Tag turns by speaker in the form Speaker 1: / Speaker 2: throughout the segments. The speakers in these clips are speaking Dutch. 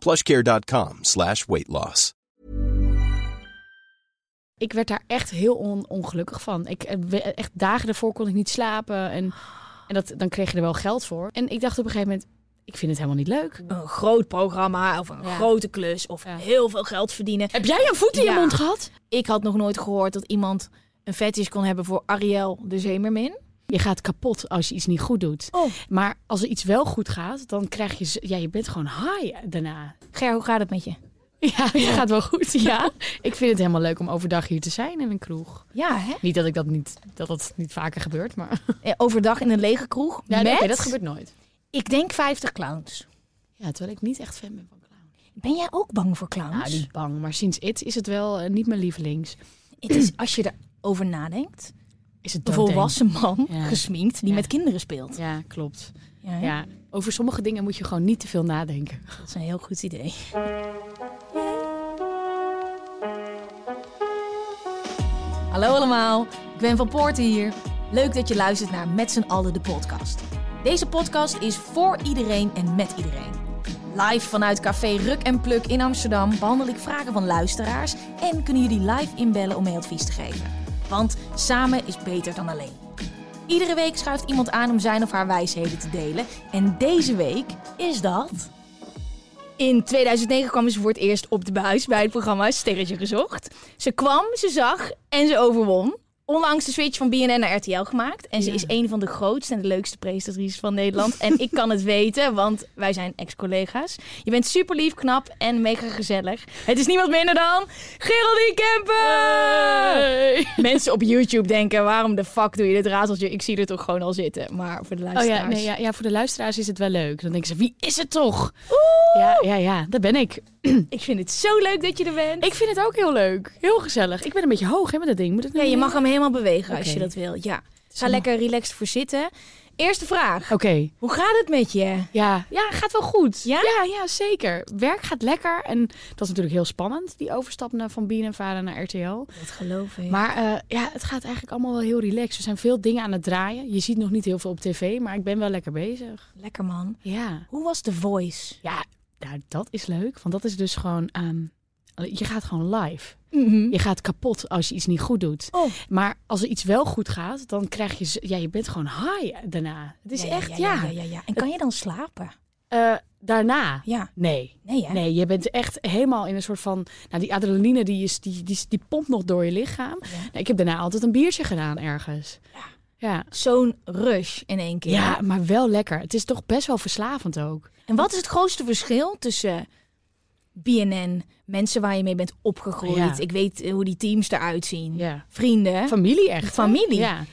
Speaker 1: plushcare.com slash weight loss.
Speaker 2: Ik werd daar echt heel on- ongelukkig van. Ik, eh, we- echt dagen ervoor kon ik niet slapen. En, en dat, dan kreeg je er wel geld voor. En ik dacht op een gegeven moment, ik vind het helemaal niet leuk.
Speaker 3: Een groot programma of een
Speaker 2: Ja.
Speaker 3: grote klus of
Speaker 2: Ja.
Speaker 3: heel veel geld verdienen.
Speaker 2: Heb jij een voet in je
Speaker 3: Ja.
Speaker 2: mond gehad?
Speaker 3: Ik had nog nooit gehoord dat iemand een fetish kon hebben voor Ariel de Zemermin.
Speaker 2: Je gaat kapot als je iets niet goed doet.
Speaker 3: Oh.
Speaker 2: Maar als er iets wel goed gaat, dan krijg je... z- Ja, je bent gewoon high daarna.
Speaker 3: Ger, hoe gaat het met je?
Speaker 2: Ja, het gaat wel goed. Ja, ik vind het helemaal leuk om overdag hier te zijn in een kroeg.
Speaker 3: Ja, hè?
Speaker 2: Niet dat ik dat niet, dat dat niet vaker gebeurt, maar...
Speaker 3: Eh, Overdag in een lege kroeg
Speaker 2: Ja,
Speaker 3: met,
Speaker 2: nee, oké, dat gebeurt nooit.
Speaker 3: ik denk, 50 clowns.
Speaker 2: Ja, terwijl ik niet echt fan ben van clowns.
Speaker 3: Ben jij ook bang voor clowns?
Speaker 2: Nou, niet bang, maar sinds It is het wel eh, niet mijn lievelings.
Speaker 3: Het is, als je erover nadenkt,
Speaker 2: Is het
Speaker 3: een
Speaker 2: doodeng.
Speaker 3: volwassen man,
Speaker 2: Ja.
Speaker 3: gesminkt, die
Speaker 2: Ja.
Speaker 3: met kinderen speelt.
Speaker 2: Ja, klopt.
Speaker 3: Ja, hè?
Speaker 2: Ja, over sommige dingen moet je gewoon niet te veel nadenken.
Speaker 3: dat is een heel goed idee. Hallo allemaal, ik ben Van Poorten hier. Leuk dat je luistert naar Met z'n allen de podcast. Deze podcast is voor iedereen en met iedereen. Live vanuit café Ruk en Pluk in Amsterdam behandel ik vragen van luisteraars en kunnen jullie live inbellen om mee advies te geven. Want samen is beter dan alleen. Iedere week schuift iemand aan om zijn of haar wijsheden te delen. En deze week is dat. In 2009 kwam ze voor het eerst op de buis bij het programma Sterretje Gezocht. Ze kwam, ze zag en ze overwon. Onlangs de switch van BNN naar RTL gemaakt. En ze
Speaker 2: Ja.
Speaker 3: is een van de grootste en de leukste presentatrices van Nederland. En ik kan het weten, want wij zijn ex-collega's. Je bent super lief, knap en mega gezellig. Het is niemand minder dan Geraldine Kemper! Mensen op YouTube denken, waarom de fuck doe je dit rateltje? Ik zie er toch gewoon al zitten. Maar voor de
Speaker 2: Oh
Speaker 3: luisteraars...
Speaker 2: ja, nee, ja, ja, voor de luisteraars is het wel leuk. Dan denken ze, wie is het toch?
Speaker 3: Oeh,
Speaker 2: Ja, ja, ja, daar ben ik.
Speaker 3: ik vind het zo leuk dat je er bent.
Speaker 2: Ik vind het ook heel leuk. Heel gezellig. Ik ben een beetje hoog hè, met dat ding. Moet het
Speaker 3: Ja, je mag hem helemaal bewegen
Speaker 2: Oké.
Speaker 3: als je dat wil. Ja. Ga lekker relaxed voor zitten. Eerste vraag.
Speaker 2: Oké,
Speaker 3: Hoe gaat het met je?
Speaker 2: ja. Ja, gaat wel goed.
Speaker 3: Ja?
Speaker 2: ja? ja, zeker. Werk gaat lekker. En dat is natuurlijk heel spannend, die overstap naar- van BNNVARA naar RTL.
Speaker 3: Dat geloof ik.
Speaker 2: Maar eh, ja, het gaat eigenlijk allemaal wel heel relaxed. Er zijn veel dingen aan het draaien. Je ziet nog niet heel veel op tv, maar ik ben wel lekker bezig.
Speaker 3: Lekker man.
Speaker 2: Ja,
Speaker 3: Hoe was The Voice?
Speaker 2: ja nou, dat is leuk. Want dat is dus gewoon... ehm, je gaat gewoon live. Je gaat kapot als je iets niet goed doet.
Speaker 3: Oh.
Speaker 2: Maar als er iets wel goed gaat, dan krijg je... z- Ja, je bent gewoon high daarna. Het is echt, ja.
Speaker 3: Ja, ja, ja. En kan je dan slapen?
Speaker 2: Eh, daarna?
Speaker 3: Ja.
Speaker 2: Nee.
Speaker 3: Nee, hè?
Speaker 2: Nee, je bent echt helemaal in een soort van... Nou, die adrenaline die, is, die, die, die pompt nog door je lichaam. Nou, ik heb daarna altijd een biertje gedaan ergens. Ja.
Speaker 3: Zo'n rush in één keer.
Speaker 2: Ja, maar wel lekker. Het is toch best wel verslavend ook.
Speaker 3: En wat is het grootste verschil tussen BNN, mensen waar je mee bent opgegroeid?
Speaker 2: Ja.
Speaker 3: Ik weet eh, hoe die teams eruit zien.
Speaker 2: Ja.
Speaker 3: Vrienden.
Speaker 2: Familie echt. hè?
Speaker 3: Familie.
Speaker 2: Ja.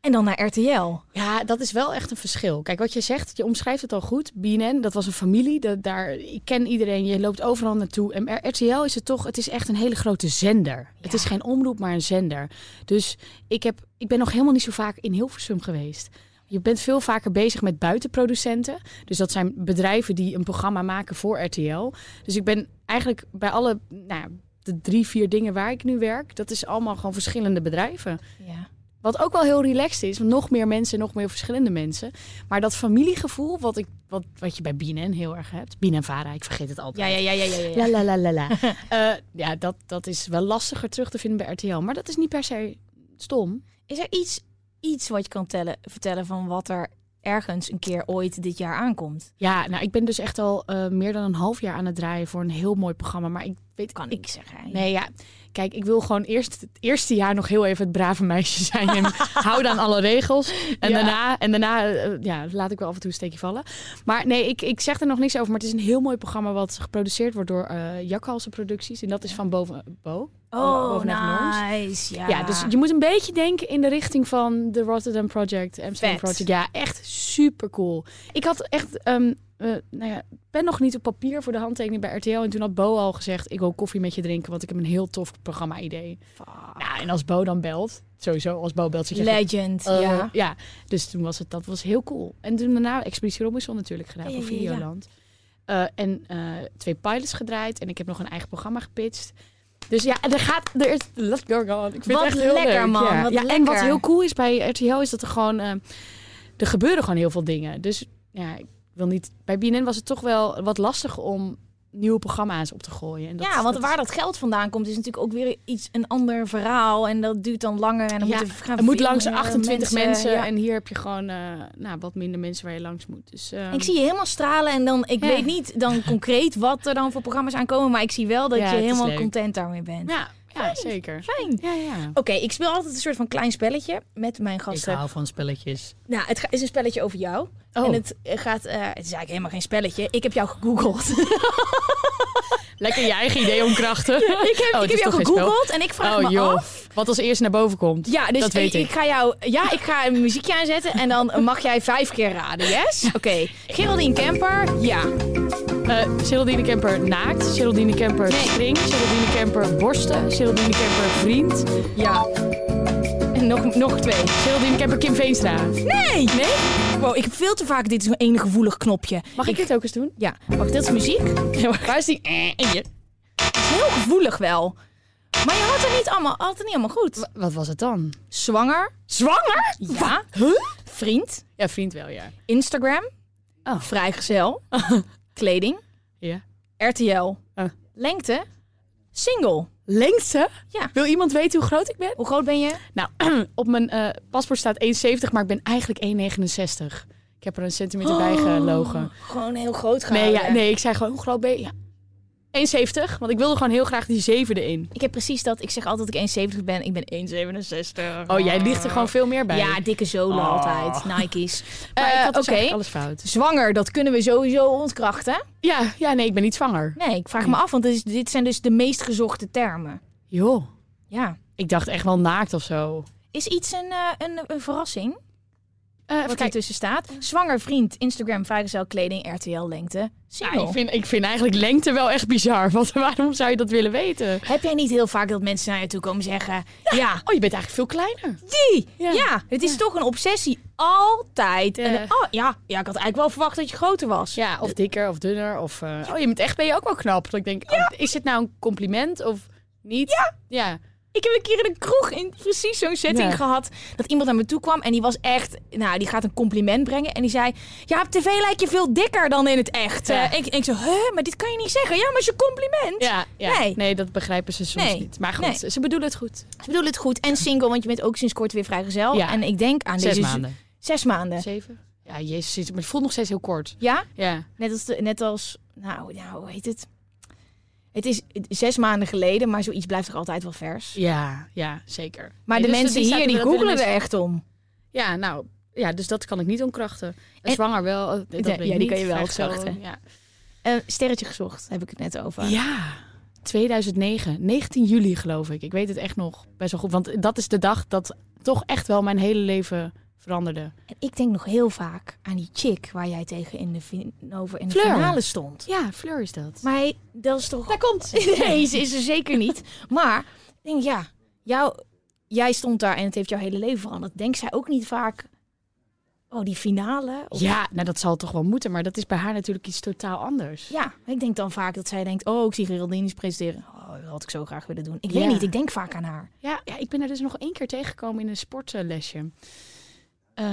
Speaker 3: En dan naar RTL.
Speaker 2: ja, dat is wel echt een verschil. Kijk, wat je zegt, je omschrijft het al goed. BNN, dat was een familie. Dat, daar, ik ken iedereen, je loopt overal naartoe. En RTL is het toch, het is echt een hele grote zender. Het is geen omroep, maar een zender. Dus ik, heb, ik ben nog helemaal niet zo vaak in Hilversum geweest. Je bent veel vaker bezig met buitenproducenten. Dus dat zijn bedrijven die een programma maken voor RTL. Dus ik ben eigenlijk bij alle nou, ja, de drie, vier dingen waar ik nu werk, dat is allemaal gewoon verschillende bedrijven.
Speaker 3: Ja.
Speaker 2: Wat ook wel heel relaxed is, want nog meer mensen, nog meer verschillende mensen. Maar dat familiegevoel, wat, ik, wat, wat je bij BNN heel erg hebt. BNN Vara, ik vergeet het altijd.
Speaker 3: Ja, ja, ja, ja, ja. ja.
Speaker 2: La la la la la. Eh, ja, dat, dat is wel lastiger terug te vinden bij RTL. Maar dat is niet per se stom.
Speaker 3: Is er iets, iets wat je kan tellen, vertellen van wat er ergens een keer ooit dit jaar aankomt?
Speaker 2: Ja, nou, ik ben dus echt al eh, meer dan een half jaar aan het draaien voor een heel mooi programma. Maar ik weet...
Speaker 3: Kan ik zeggen. hè?
Speaker 2: Nee, ja. Kijk, ik wil gewoon eerst het eerste jaar nog heel even het brave meisje zijn. En houden aan alle regels. En
Speaker 3: Ja.
Speaker 2: daarna, en daarna eh, ja, laat ik wel af en toe een steekje vallen. Maar nee, ik, ik zeg er nog niks over. Maar het is een heel mooi programma wat geproduceerd wordt door eh Jakhalse Producties. En dat is van boven, Bo.
Speaker 3: Oh,
Speaker 2: Bovenaf Noors.
Speaker 3: nice. Ja.
Speaker 2: Ja, dus je moet een beetje denken in de richting van de Rotterdam Project, Amsterdam
Speaker 3: Vet.
Speaker 2: Project. Ja, echt super cool. Ik had echt ehm, eh, nou ja, ben nog niet op papier voor de handtekening bij RTL. En toen had Bo al gezegd, ik wil koffie met je drinken, want ik heb een heel tof programma-idee. Nou, en als Bo dan belt, sowieso als Bo belt, zit je echt-
Speaker 3: Legend,
Speaker 2: Eh,
Speaker 3: ja.
Speaker 2: dus toen was het, dat was heel cool. En toen daarna Expeditie Robinson natuurlijk gedaan
Speaker 3: Ja, ja,
Speaker 2: voor
Speaker 3: ja, ja.
Speaker 2: Videoland. Eh, en eh, twee pilots gedraaid en ik heb nog een eigen programma gepitcht. Dus ja, en er gaat, er is, let's go on. Ik vind
Speaker 3: Wat
Speaker 2: het echt heel
Speaker 3: lekker,
Speaker 2: leuk,
Speaker 3: man,
Speaker 2: Ja.
Speaker 3: wat
Speaker 2: Ja, En wat
Speaker 3: lekker.
Speaker 2: heel cool is bij RTL is dat er gewoon, eh, er gebeuren gewoon heel veel dingen. Dus ja, ik wil niet, bij BNN was het toch wel wat lastig om nieuwe programma's op te gooien. En dat,
Speaker 3: ja, want
Speaker 2: dat-
Speaker 3: waar dat geld vandaan komt is natuurlijk ook weer iets, een ander verhaal. En dat duurt dan langer. En dan
Speaker 2: Ja,
Speaker 3: moeten we gaan
Speaker 2: er moet
Speaker 3: veel
Speaker 2: langs
Speaker 3: meer
Speaker 2: 28 mensen,
Speaker 3: eh, ja.
Speaker 2: en hier heb je gewoon eh, nou, wat minder mensen waar je langs moet. Dus, eh,
Speaker 3: Ik zie je helemaal stralen en dan, ik
Speaker 2: Ja.
Speaker 3: weet niet dan concreet wat er dan voor programma's aankomen, maar ik zie wel dat
Speaker 2: Ja,
Speaker 3: je
Speaker 2: het is
Speaker 3: helemaal
Speaker 2: leuk.
Speaker 3: content daarmee bent.
Speaker 2: Ja, ja zeker.
Speaker 3: Fijn.
Speaker 2: Ja, ja.
Speaker 3: Oké, ik speel altijd een soort van klein spelletje met mijn gasten.
Speaker 2: van spelletjes.
Speaker 3: Nou, het ga- is een spelletje over jou.
Speaker 2: Oh.
Speaker 3: En het eh, gaat, eh, het is eigenlijk helemaal geen spelletje. Ik heb jou gegoogeld.
Speaker 2: Lekker je eigen idee om krachten.
Speaker 3: ik heb,
Speaker 2: Oh,
Speaker 3: ik
Speaker 2: het
Speaker 3: heb
Speaker 2: is
Speaker 3: jou
Speaker 2: toch geen spel?
Speaker 3: gegoogeld en ik vraag
Speaker 2: Oh,
Speaker 3: me
Speaker 2: joh.
Speaker 3: af.
Speaker 2: Wat als eerst naar boven komt.
Speaker 3: Ja, dus
Speaker 2: Dat weet
Speaker 3: ik,
Speaker 2: ik.
Speaker 3: ik ga jou, ja, ik ga een muziekje aanzetten en dan mag jij vijf keer raden, yes? Oké, Geraldine Kemper, ja.
Speaker 2: Eh Geraldine Kemper naakt. Geraldine Kemper
Speaker 3: Nee.
Speaker 2: string. Geraldine Kemper borsten. Geraldine Kemper vriend.
Speaker 3: Ja. En nog, nog twee.
Speaker 2: Geraldine Kemper Kim Veenstra.
Speaker 3: Nee! Nee? Wow, ik heb veel te vaak dit is één gevoelig knopje.
Speaker 2: Mag ik dit ook eens doen?
Speaker 3: Ja, wacht, dat is muziek.
Speaker 2: Waar is die? eh, en je-
Speaker 3: Heel gevoelig wel. Maar je had het niet allemaal, had het niet allemaal goed.
Speaker 2: Wat was het dan?
Speaker 3: Zwanger.
Speaker 2: Zwanger?
Speaker 3: Ja. Vriend.
Speaker 2: Ja, vriend wel, ja.
Speaker 3: Instagram.
Speaker 2: Oh.
Speaker 3: Vrijgezel. Kleding.
Speaker 2: ja.
Speaker 3: RTL.
Speaker 2: Ah.
Speaker 3: Lengte. Single.
Speaker 2: Lengte?
Speaker 3: Ja.
Speaker 2: Wil iemand weten hoe groot ik ben?
Speaker 3: Hoe groot ben je?
Speaker 2: Nou, op mijn eh, paspoort staat 1,70, maar ik ben eigenlijk 1,69. Ik heb er een centimeter bij gelogen.
Speaker 3: Oh, Gewoon heel groot gaan.
Speaker 2: Nee, ja, nee, ik zei gewoon, hoe groot ben je? Ja. 1,70, want ik wilde gewoon heel graag die zevende in.
Speaker 3: Ik heb precies dat. Ik zeg altijd dat ik 1,70 ben. Ik ben 1,67.
Speaker 2: Oh, jij ligt er gewoon veel meer bij. Eh,
Speaker 3: Ja, dikke zolen altijd. Nike's.
Speaker 2: maar ik
Speaker 3: Ah. Eh,
Speaker 2: had dus
Speaker 3: Oké.
Speaker 2: eigenlijk alles fout.
Speaker 3: Zwanger, dat kunnen we sowieso ontkrachten.
Speaker 2: Ja, ja, nee, ik ben niet zwanger.
Speaker 3: Nee, ik vraag me af, want dit, is- dit zijn dus de meest gezochte termen.
Speaker 2: Joh,
Speaker 3: Ja.
Speaker 2: ik dacht echt wel naakt of zo.
Speaker 3: Is iets een, eh, een, een verrassing?
Speaker 2: Eh, even
Speaker 3: Wat
Speaker 2: kijken.
Speaker 3: ertussen staat. Zwanger, vriend, Instagram, vrijgezel, kleding, RTL, lengte, single.
Speaker 2: Ja, ik, vind, ik vind eigenlijk lengte wel echt bizar. Want waarom zou je dat willen weten?
Speaker 3: Heb jij niet heel vaak dat mensen naar je toe komen zeggen... Ja,
Speaker 2: Oh, je bent eigenlijk veel kleiner.
Speaker 3: die! Ja,
Speaker 2: Ja.
Speaker 3: het is toch een obsessie. Altijd. En,
Speaker 2: Ja.
Speaker 3: oh, ja, ja, ik had eigenlijk wel verwacht dat je groter was.
Speaker 2: Ja, of dikker of dunner. Of, eh, oh, je bent echt ben je ook wel knap. Dat ik denk, oh, is dit nou een compliment of niet? Ja. ja.
Speaker 3: Ik heb een keer in een kroeg in precies zo'n setting
Speaker 2: Ja.
Speaker 3: gehad. Dat iemand naar me toe kwam en die was echt... Nou, die gaat een compliment brengen. En die zei... Ja, op tv lijk je veel dikker dan in het echt.
Speaker 2: Ja.
Speaker 3: Eh, en, ik- en ik zo... Hè, maar dit kan je niet zeggen. Ja, maar het is een compliment.
Speaker 2: Ja, ja.
Speaker 3: Nee.
Speaker 2: Nee. dat begrijpen ze soms
Speaker 3: Nee.
Speaker 2: niet. Maar goed,
Speaker 3: Nee.
Speaker 2: ze- ze bedoelen het goed.
Speaker 3: Ik bedoel het goed. En single, want je bent ook sinds kort weer vrijgezel.
Speaker 2: Ja.
Speaker 3: En ik denk aan
Speaker 2: Zes
Speaker 3: deze...
Speaker 2: maanden.
Speaker 3: Zes maanden.
Speaker 2: Zeven? Ja, jezus, maar het voelt nog steeds heel kort.
Speaker 3: Ja?
Speaker 2: Ja.
Speaker 3: Net als... De, net als nou, nou, hoe heet het? Het is zes maanden geleden, maar zoiets blijft toch altijd wel vers?
Speaker 2: Ja, ja, zeker.
Speaker 3: Maar
Speaker 2: Nee,
Speaker 3: de
Speaker 2: dus
Speaker 3: mensen
Speaker 2: staat
Speaker 3: hier,
Speaker 2: er
Speaker 3: die
Speaker 2: wel dat
Speaker 3: googelen
Speaker 2: willen
Speaker 3: er echt om.
Speaker 2: mensen- Ja, nou, ja, dus dat kan ik niet onkrachten. En
Speaker 3: En-
Speaker 2: zwanger wel, eh, dat
Speaker 3: Ja,
Speaker 2: weet ik
Speaker 3: ja, die
Speaker 2: niet.
Speaker 3: kan je wel
Speaker 2: Vraag zo,
Speaker 3: ontkrachten.
Speaker 2: Ja.
Speaker 3: Eh, sterretje gezocht, heb ik het net over.
Speaker 2: ja, 2009, 19 juli geloof ik. Ik weet het echt nog best wel goed. Want dat is de dag dat toch echt wel mijn hele leven veranderde.
Speaker 3: En ik denk nog heel vaak aan die chick waar jij tegen in de, fin- over in de
Speaker 2: Fleur.
Speaker 3: finale stond.
Speaker 2: Ja, Fleur is dat.
Speaker 3: Maar hij- dat is toch...
Speaker 2: daar komt
Speaker 3: Nee, ze is er zeker niet. Maar ik denk, ja, jou, jij stond daar en het heeft jouw hele leven veranderd. Denkt zij ook niet vaak, oh, die finale? Of-
Speaker 2: Ja, nou dat zal toch wel moeten, maar dat is bij haar natuurlijk iets totaal anders.
Speaker 3: Ja, ik denk dan vaak dat zij denkt, oh, ik zie Geraldine eens presenteren. Oh, dat had ik zo graag willen doen. Ik
Speaker 2: Ja.
Speaker 3: weet niet, ik denk vaak aan haar.
Speaker 2: Ja, ja, ik ben er dus nog één keer tegengekomen in een sportlesje. Eh,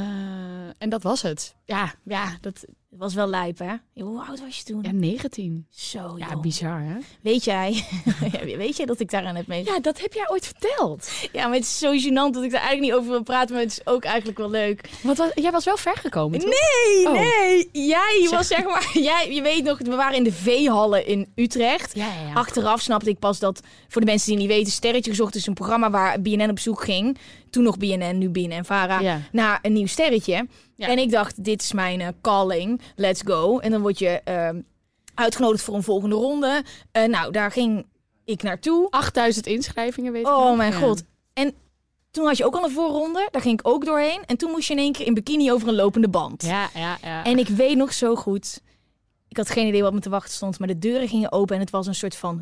Speaker 2: en dat was het. Ja, ja, dat,
Speaker 3: Het was wel lijp, hè? Hoe oud was je toen?
Speaker 2: ja 19.
Speaker 3: Zo,
Speaker 2: Ja,
Speaker 3: joh.
Speaker 2: bizar hè?
Speaker 3: Weet jij, weet jij dat ik daaraan heb mee?
Speaker 2: Ja, dat heb jij ooit verteld.
Speaker 3: Ja, maar het is zo gênant dat ik daar eigenlijk niet over wil praten, maar het is ook eigenlijk wel leuk.
Speaker 2: Want wat- jij was wel ver gekomen. toch?
Speaker 3: Nee,
Speaker 2: Oh.
Speaker 3: nee. Jij
Speaker 2: Zeg.
Speaker 3: was zeg maar, jij, je weet nog, we waren in de veehallen in Utrecht.
Speaker 2: Ja, ja, ja.
Speaker 3: Achteraf snapte ik pas dat, voor de mensen die niet weten, Sterretje Gezocht is een programma waar BNN op zoek ging. Toen nog BNN, nu BNN Vara.
Speaker 2: Ja.
Speaker 3: Naar een nieuw sterretje.
Speaker 2: Ja.
Speaker 3: En ik dacht, dit is mijn eh, calling. Let's go. En dan word je ehm, uitgenodigd voor een volgende ronde. Eh, nou, daar ging ik naartoe.
Speaker 2: 8000 inschrijvingen weet ik
Speaker 3: Oh
Speaker 2: nog.
Speaker 3: mijn
Speaker 2: Ja.
Speaker 3: god. En toen had je ook al een voorronde. Daar ging ik ook doorheen. En toen moest je in één keer in bikini over een lopende band.
Speaker 2: Ja, ja, ja.
Speaker 3: En ik weet nog zo goed. Ik had geen idee wat me te wachten stond, maar de deuren gingen open en het was een soort van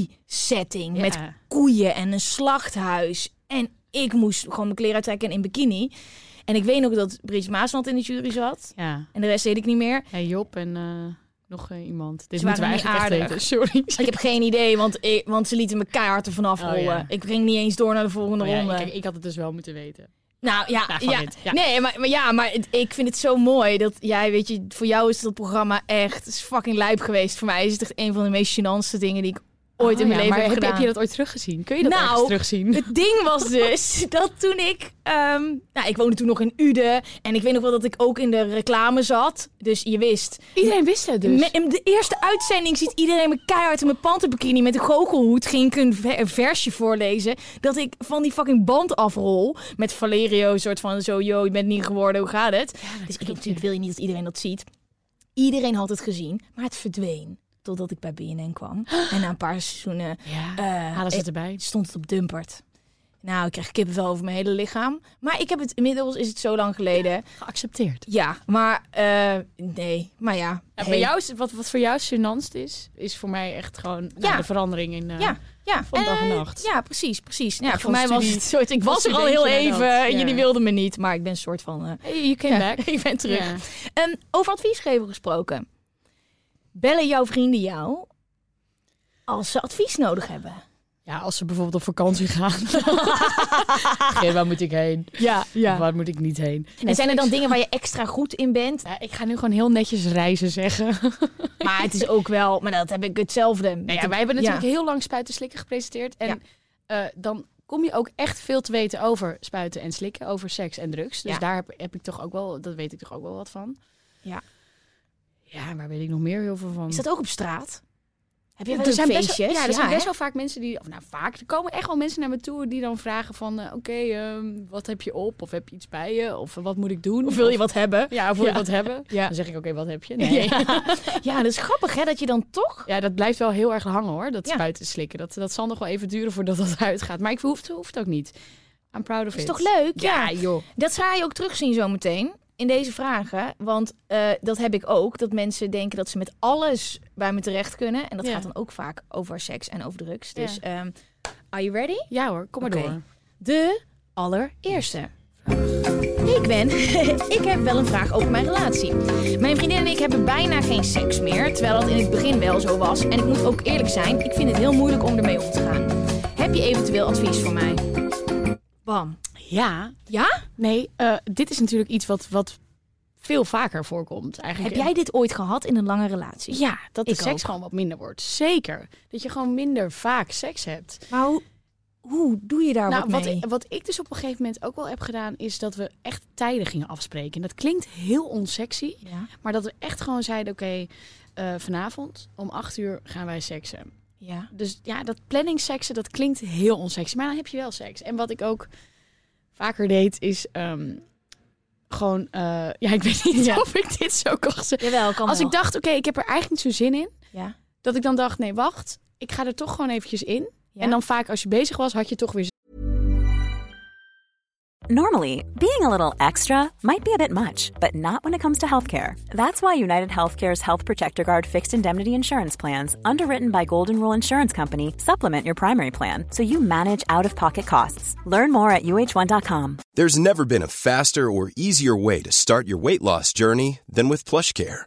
Speaker 3: vee-setting met
Speaker 2: Ja.
Speaker 3: koeien en een slachthuis. En ik moest gewoon mijn kleren uittrekken en in bikini. En ik weet nog dat Brigitte Maasland in de jury zat.
Speaker 2: Ja.
Speaker 3: En de rest weet ik niet meer.
Speaker 2: Ja, Job en eh, nog eh, iemand. Dit
Speaker 3: Ze
Speaker 2: moeten we
Speaker 3: waren niet
Speaker 2: eigenlijk echt
Speaker 3: aardig.
Speaker 2: weten. Sorry.
Speaker 3: Ik heb geen idee, want, ik, want ze lieten me keihard ervan afrollen.
Speaker 2: Oh, ja.
Speaker 3: Ik ging niet eens door naar de volgende
Speaker 2: Oh ja,
Speaker 3: ronde.
Speaker 2: kijk, ik had het dus wel moeten weten.
Speaker 3: Nou ja,
Speaker 2: Ja,
Speaker 3: ja,
Speaker 2: van dit, ja.
Speaker 3: nee, maar, maar ja, maar het- ik vind het zo mooi dat jij, weet je, voor jou is dat programma echt het is fucking lijp geweest. Voor mij is het echt een van de meest gênantste dingen die ik ooit
Speaker 2: Oh
Speaker 3: in mijn
Speaker 2: ja,
Speaker 3: leven
Speaker 2: maar
Speaker 3: heb
Speaker 2: heb,
Speaker 3: gedaan.
Speaker 2: je dat ooit teruggezien? Kun je dat
Speaker 3: Nou,
Speaker 2: ergens terugzien?
Speaker 3: Het ding was dus dat toen ik, ehm, nou, ik woonde toen nog in Uden en ik weet nog wel dat ik ook in de reclame zat. Dus je wist,
Speaker 2: Iedereen wist het dus.
Speaker 3: Me- in de eerste uitzending ziet iedereen me keihard in mijn pantenbikini met een goochelhoed. Ging ik een, ver- een versje voorlezen dat ik van die fucking band afrol. Met Valerio, soort van zo, yo, je bent niet geworden, hoe gaat het? dus ik, natuurlijk wil je niet dat iedereen dat ziet. Iedereen had het gezien, maar het verdween. Totdat ik bij BNN kwam. En na een paar seizoenen
Speaker 2: ja,
Speaker 3: eh,
Speaker 2: halen ze
Speaker 3: ik-
Speaker 2: het erbij.
Speaker 3: stond het op Dumpert. Nou, ik kreeg kippenvel over mijn hele lichaam. Maar ik heb het inmiddels, is het zo lang geleden.
Speaker 2: Geaccepteerd.
Speaker 3: Ja, maar eh, nee. Maar ja. hey.
Speaker 2: Bij jou is, wat, wat voor jou gênantst is, is voor mij echt gewoon nou,
Speaker 3: Ja.
Speaker 2: de verandering in... eh,
Speaker 3: Ja, ja.
Speaker 2: Van dag en
Speaker 3: Eh,
Speaker 2: nacht.
Speaker 3: Ja, precies, precies.
Speaker 2: Echt
Speaker 3: Ja, voor
Speaker 2: van
Speaker 3: mij was
Speaker 2: studie-
Speaker 3: het soort... Ik
Speaker 2: van
Speaker 3: was er al heel
Speaker 2: studentje
Speaker 3: even
Speaker 2: naar dat.
Speaker 3: en
Speaker 2: Ja.
Speaker 3: jullie wilden me niet. Maar ik ben een soort van... eh,
Speaker 2: Hey, you came
Speaker 3: ja,
Speaker 2: back.
Speaker 3: ik ben terug.
Speaker 2: Ja.
Speaker 3: Ehm, over adviesgever gesproken. Bellen jouw vrienden jou als ze advies nodig hebben?
Speaker 2: Ja, als ze bijvoorbeeld op vakantie gaan. Geen, waar moet ik heen?
Speaker 3: Ja,
Speaker 2: Of Waar moet ik niet heen?
Speaker 3: En zijn er dan dingen waar je extra goed in bent?
Speaker 2: Ja, ik ga nu gewoon heel netjes reizen zeggen.
Speaker 3: Maar het is ook wel... Maar dat heb ik hetzelfde.
Speaker 2: Nou ja, wij hebben natuurlijk heel lang spuiten slikken gepresenteerd. En eh, dan kom je ook echt veel te weten over spuiten en slikken, over seks en drugs. Dus
Speaker 3: Ja.
Speaker 2: daar heb, heb ik toch ook wel, dat weet ik toch ook wel wat van.
Speaker 3: Ja.
Speaker 2: Ja, waar weet ik nog meer heel veel van.
Speaker 3: Is dat ook op straat? Heb je
Speaker 2: Ja,
Speaker 3: wel
Speaker 2: er
Speaker 3: eens
Speaker 2: zijn best,
Speaker 3: feestjes?
Speaker 2: wel- ja, er zijn
Speaker 3: hè?
Speaker 2: best wel vaak mensen die, of nou vaak, er komen echt wel mensen naar me toe die dan vragen van, eh, oké, ehm, wat heb je op? Of heb je iets bij je? Of eh, wat moet ik doen?
Speaker 3: Of wil je wat hebben?
Speaker 2: Ja, of wil
Speaker 3: Ja.
Speaker 2: je wat hebben?
Speaker 3: Ja.
Speaker 2: Dan zeg ik, oké, wat heb je? Nee.
Speaker 3: Ja. ja, dat is grappig hè, dat je dan toch...
Speaker 2: Ja, dat blijft wel heel erg hangen hoor. Dat
Speaker 3: Ja.
Speaker 2: spuiten slikken. Dat, dat zal nog wel even duren voordat dat uitgaat. Maar ik hoeft, hoeft ook niet. I'm proud of
Speaker 3: Is
Speaker 2: it.
Speaker 3: toch leuk?
Speaker 2: Ja, joh.
Speaker 3: Dat ga je ook terugzien zometeen in deze vragen. Want eh, dat heb ik ook. Dat mensen denken dat ze met alles bij me terecht kunnen. En dat
Speaker 2: Ja.
Speaker 3: gaat dan ook vaak over seks en over drugs.
Speaker 2: Ja.
Speaker 3: Dus ehm, are you ready?
Speaker 2: Ja hoor, kom maar
Speaker 3: Oké.
Speaker 2: door.
Speaker 3: De allereerste. Hey Gwen, ik heb wel een vraag over mijn relatie. Mijn vriendin en ik hebben bijna geen seks meer, terwijl dat in het begin wel zo was. En ik moet ook eerlijk zijn, ik vind het heel moeilijk om ermee om te gaan. Heb je eventueel advies voor mij? Bam.
Speaker 2: Ja,
Speaker 3: Ja?
Speaker 2: nee, eh, dit is natuurlijk iets wat, wat veel vaker voorkomt
Speaker 3: Heb
Speaker 2: eigenlijk.
Speaker 3: jij dit ooit gehad in een lange relatie?
Speaker 2: Ja, dat de
Speaker 3: Ik
Speaker 2: seks
Speaker 3: ook.
Speaker 2: gewoon wat minder wordt. Zeker. Dat je gewoon minder vaak seks hebt.
Speaker 3: Maar hoe, hoe doe je daar
Speaker 2: nou,
Speaker 3: wat mee?
Speaker 2: Wat, wat ik dus op een gegeven moment ook wel heb gedaan, is dat we echt tijden gingen afspreken. En dat klinkt heel onsexy.
Speaker 3: ja.
Speaker 2: Maar dat we echt gewoon zeiden, oké, eh, vanavond om acht uur gaan wij seksen.
Speaker 3: ja.
Speaker 2: Dus ja, dat planning seksen, dat klinkt heel onsexy. Maar dan heb je wel seks. En wat ik ook vaker deed, is ehm, gewoon... eh, ja, ik weet niet of ik dit zo kan zeggen.
Speaker 3: Jawel, kan
Speaker 2: Als ik dacht, oké, ik heb er eigenlijk niet zo zin in.
Speaker 3: Ja.
Speaker 2: Dat ik dan dacht, nee, wacht. Ik ga er toch gewoon eventjes in.
Speaker 3: Ja.
Speaker 2: En dan vaak als je bezig was, had je toch weer
Speaker 4: Normally, being a little extra might be a bit much, but not when it comes to healthcare. That's why United Healthcare's Health Protector Guard fixed indemnity insurance plans, underwritten by Golden Rule Insurance Company, supplement your primary plan so you manage out of pocket costs. Learn more at uh1.com.
Speaker 1: There's never been a faster or easier way to start your weight loss journey than with PlushCare.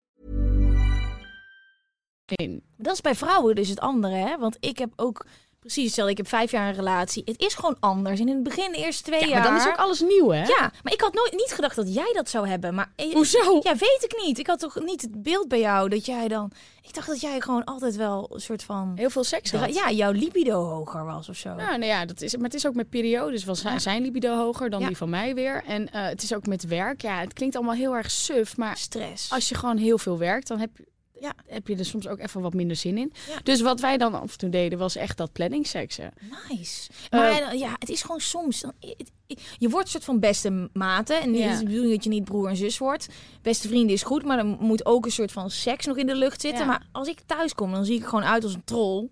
Speaker 2: in.
Speaker 3: Dat is bij vrouwen dus het andere, hè? Want ik heb ook... Precies, stel, ik heb vijf jaar een relatie. Het is gewoon anders. En in het begin, de eerste twee
Speaker 2: Ja,
Speaker 3: jaar...
Speaker 2: maar dan is ook alles nieuw, hè?
Speaker 3: Ja, maar ik had nooit niet gedacht dat jij dat zou hebben. Maar eh,
Speaker 2: Hoezo?
Speaker 3: Ja, weet ik niet. Ik had toch niet het beeld bij jou dat jij dan... Ik dacht dat jij gewoon altijd wel een soort van...
Speaker 2: Heel veel seks had.
Speaker 3: Ja, jouw libido hoger was of zo.
Speaker 2: Nou, nou ja, dat is, het. maar het is ook met periodes. Was zijn- zijn libido hoger dan
Speaker 3: Ja.
Speaker 2: die van mij weer? En eh, het is ook met werk. Ja, het klinkt allemaal heel erg suf. Maar
Speaker 3: Stress.
Speaker 2: als je gewoon heel veel werkt, dan heb je.
Speaker 3: Ja.
Speaker 2: heb je er soms ook even wat minder zin in.
Speaker 3: Ja.
Speaker 2: Dus wat wij dan af en toe deden, was echt dat planning seksen.
Speaker 3: Nice.
Speaker 2: Eh,
Speaker 3: Maar ja, het is gewoon soms. dan- het- het- Je wordt een soort van beste maten. En
Speaker 2: Ja.
Speaker 3: het is de bedoeling dat je niet broer en zus wordt. Beste vrienden is goed, maar dan moet ook een soort van seks nog in de lucht zitten.
Speaker 2: Ja.
Speaker 3: Maar als ik thuis kom, dan zie ik er gewoon uit als een troll.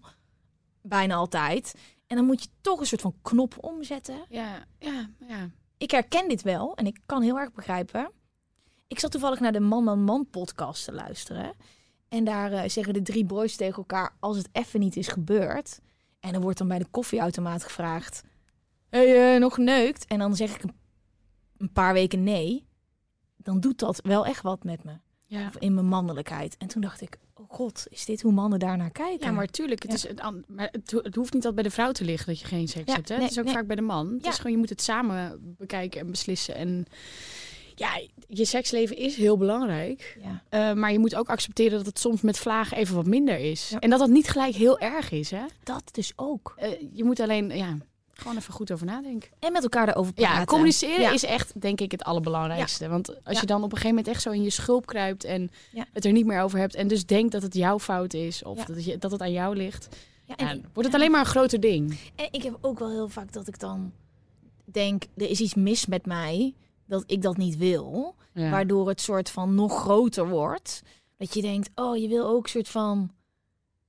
Speaker 3: Bijna altijd. En dan moet je toch een soort van knop omzetten.
Speaker 2: Ja, ja, ja.
Speaker 3: Ik herken dit wel en ik kan heel erg begrijpen. Ik zat toevallig naar de Man Man Man podcast te luisteren. En daar eh, zeggen de drie boys tegen elkaar als het even niet is gebeurd. En dan wordt dan bij de koffieautomaat gevraagd. Hé, hey, eh, nog geneukt? En dan zeg ik een- een paar weken nee. Dan doet dat wel echt wat met me.
Speaker 2: ja.
Speaker 3: Of in mijn mannelijkheid. En toen dacht ik, oh god, is dit hoe mannen daarnaar kijken?
Speaker 2: Ja, maar tuurlijk, het,
Speaker 3: Ja.
Speaker 2: is een an- maar het, ho- het hoeft niet altijd bij de vrouw te liggen dat je geen seks
Speaker 3: Ja,
Speaker 2: hebt. Hè?
Speaker 3: nee,
Speaker 2: het is ook
Speaker 3: nee.
Speaker 2: vaak bij de man. Het
Speaker 3: Ja.
Speaker 2: is gewoon, je moet het samen bekijken en beslissen. En ja, je seksleven is heel belangrijk.
Speaker 3: Ja.
Speaker 2: Eh, maar je moet ook accepteren dat het soms met vlagen even wat minder is.
Speaker 3: Ja.
Speaker 2: En dat dat niet gelijk heel erg is. Hè?
Speaker 3: Dat dus ook.
Speaker 2: Eh, je moet alleen ja, gewoon even goed over nadenken.
Speaker 3: En met elkaar erover praten.
Speaker 2: Ja, communiceren
Speaker 3: Ja.
Speaker 2: is echt, denk ik, het allerbelangrijkste. Want als
Speaker 3: Ja.
Speaker 2: je dan op een gegeven moment echt zo in je schulp kruipt en
Speaker 3: Ja.
Speaker 2: het er niet meer over hebt. En dus denkt dat het jouw fout is of
Speaker 3: Ja.
Speaker 2: dat, het, je- dat het aan jou ligt.
Speaker 3: Ja, en
Speaker 2: Ja, dan wordt het alleen maar een groter ding.
Speaker 3: En ik heb ook wel heel vaak dat ik dan denk, er is iets mis met mij dat ik dat niet wil. Waardoor het soort van nog groter wordt. Dat je denkt, oh, je wil ook soort van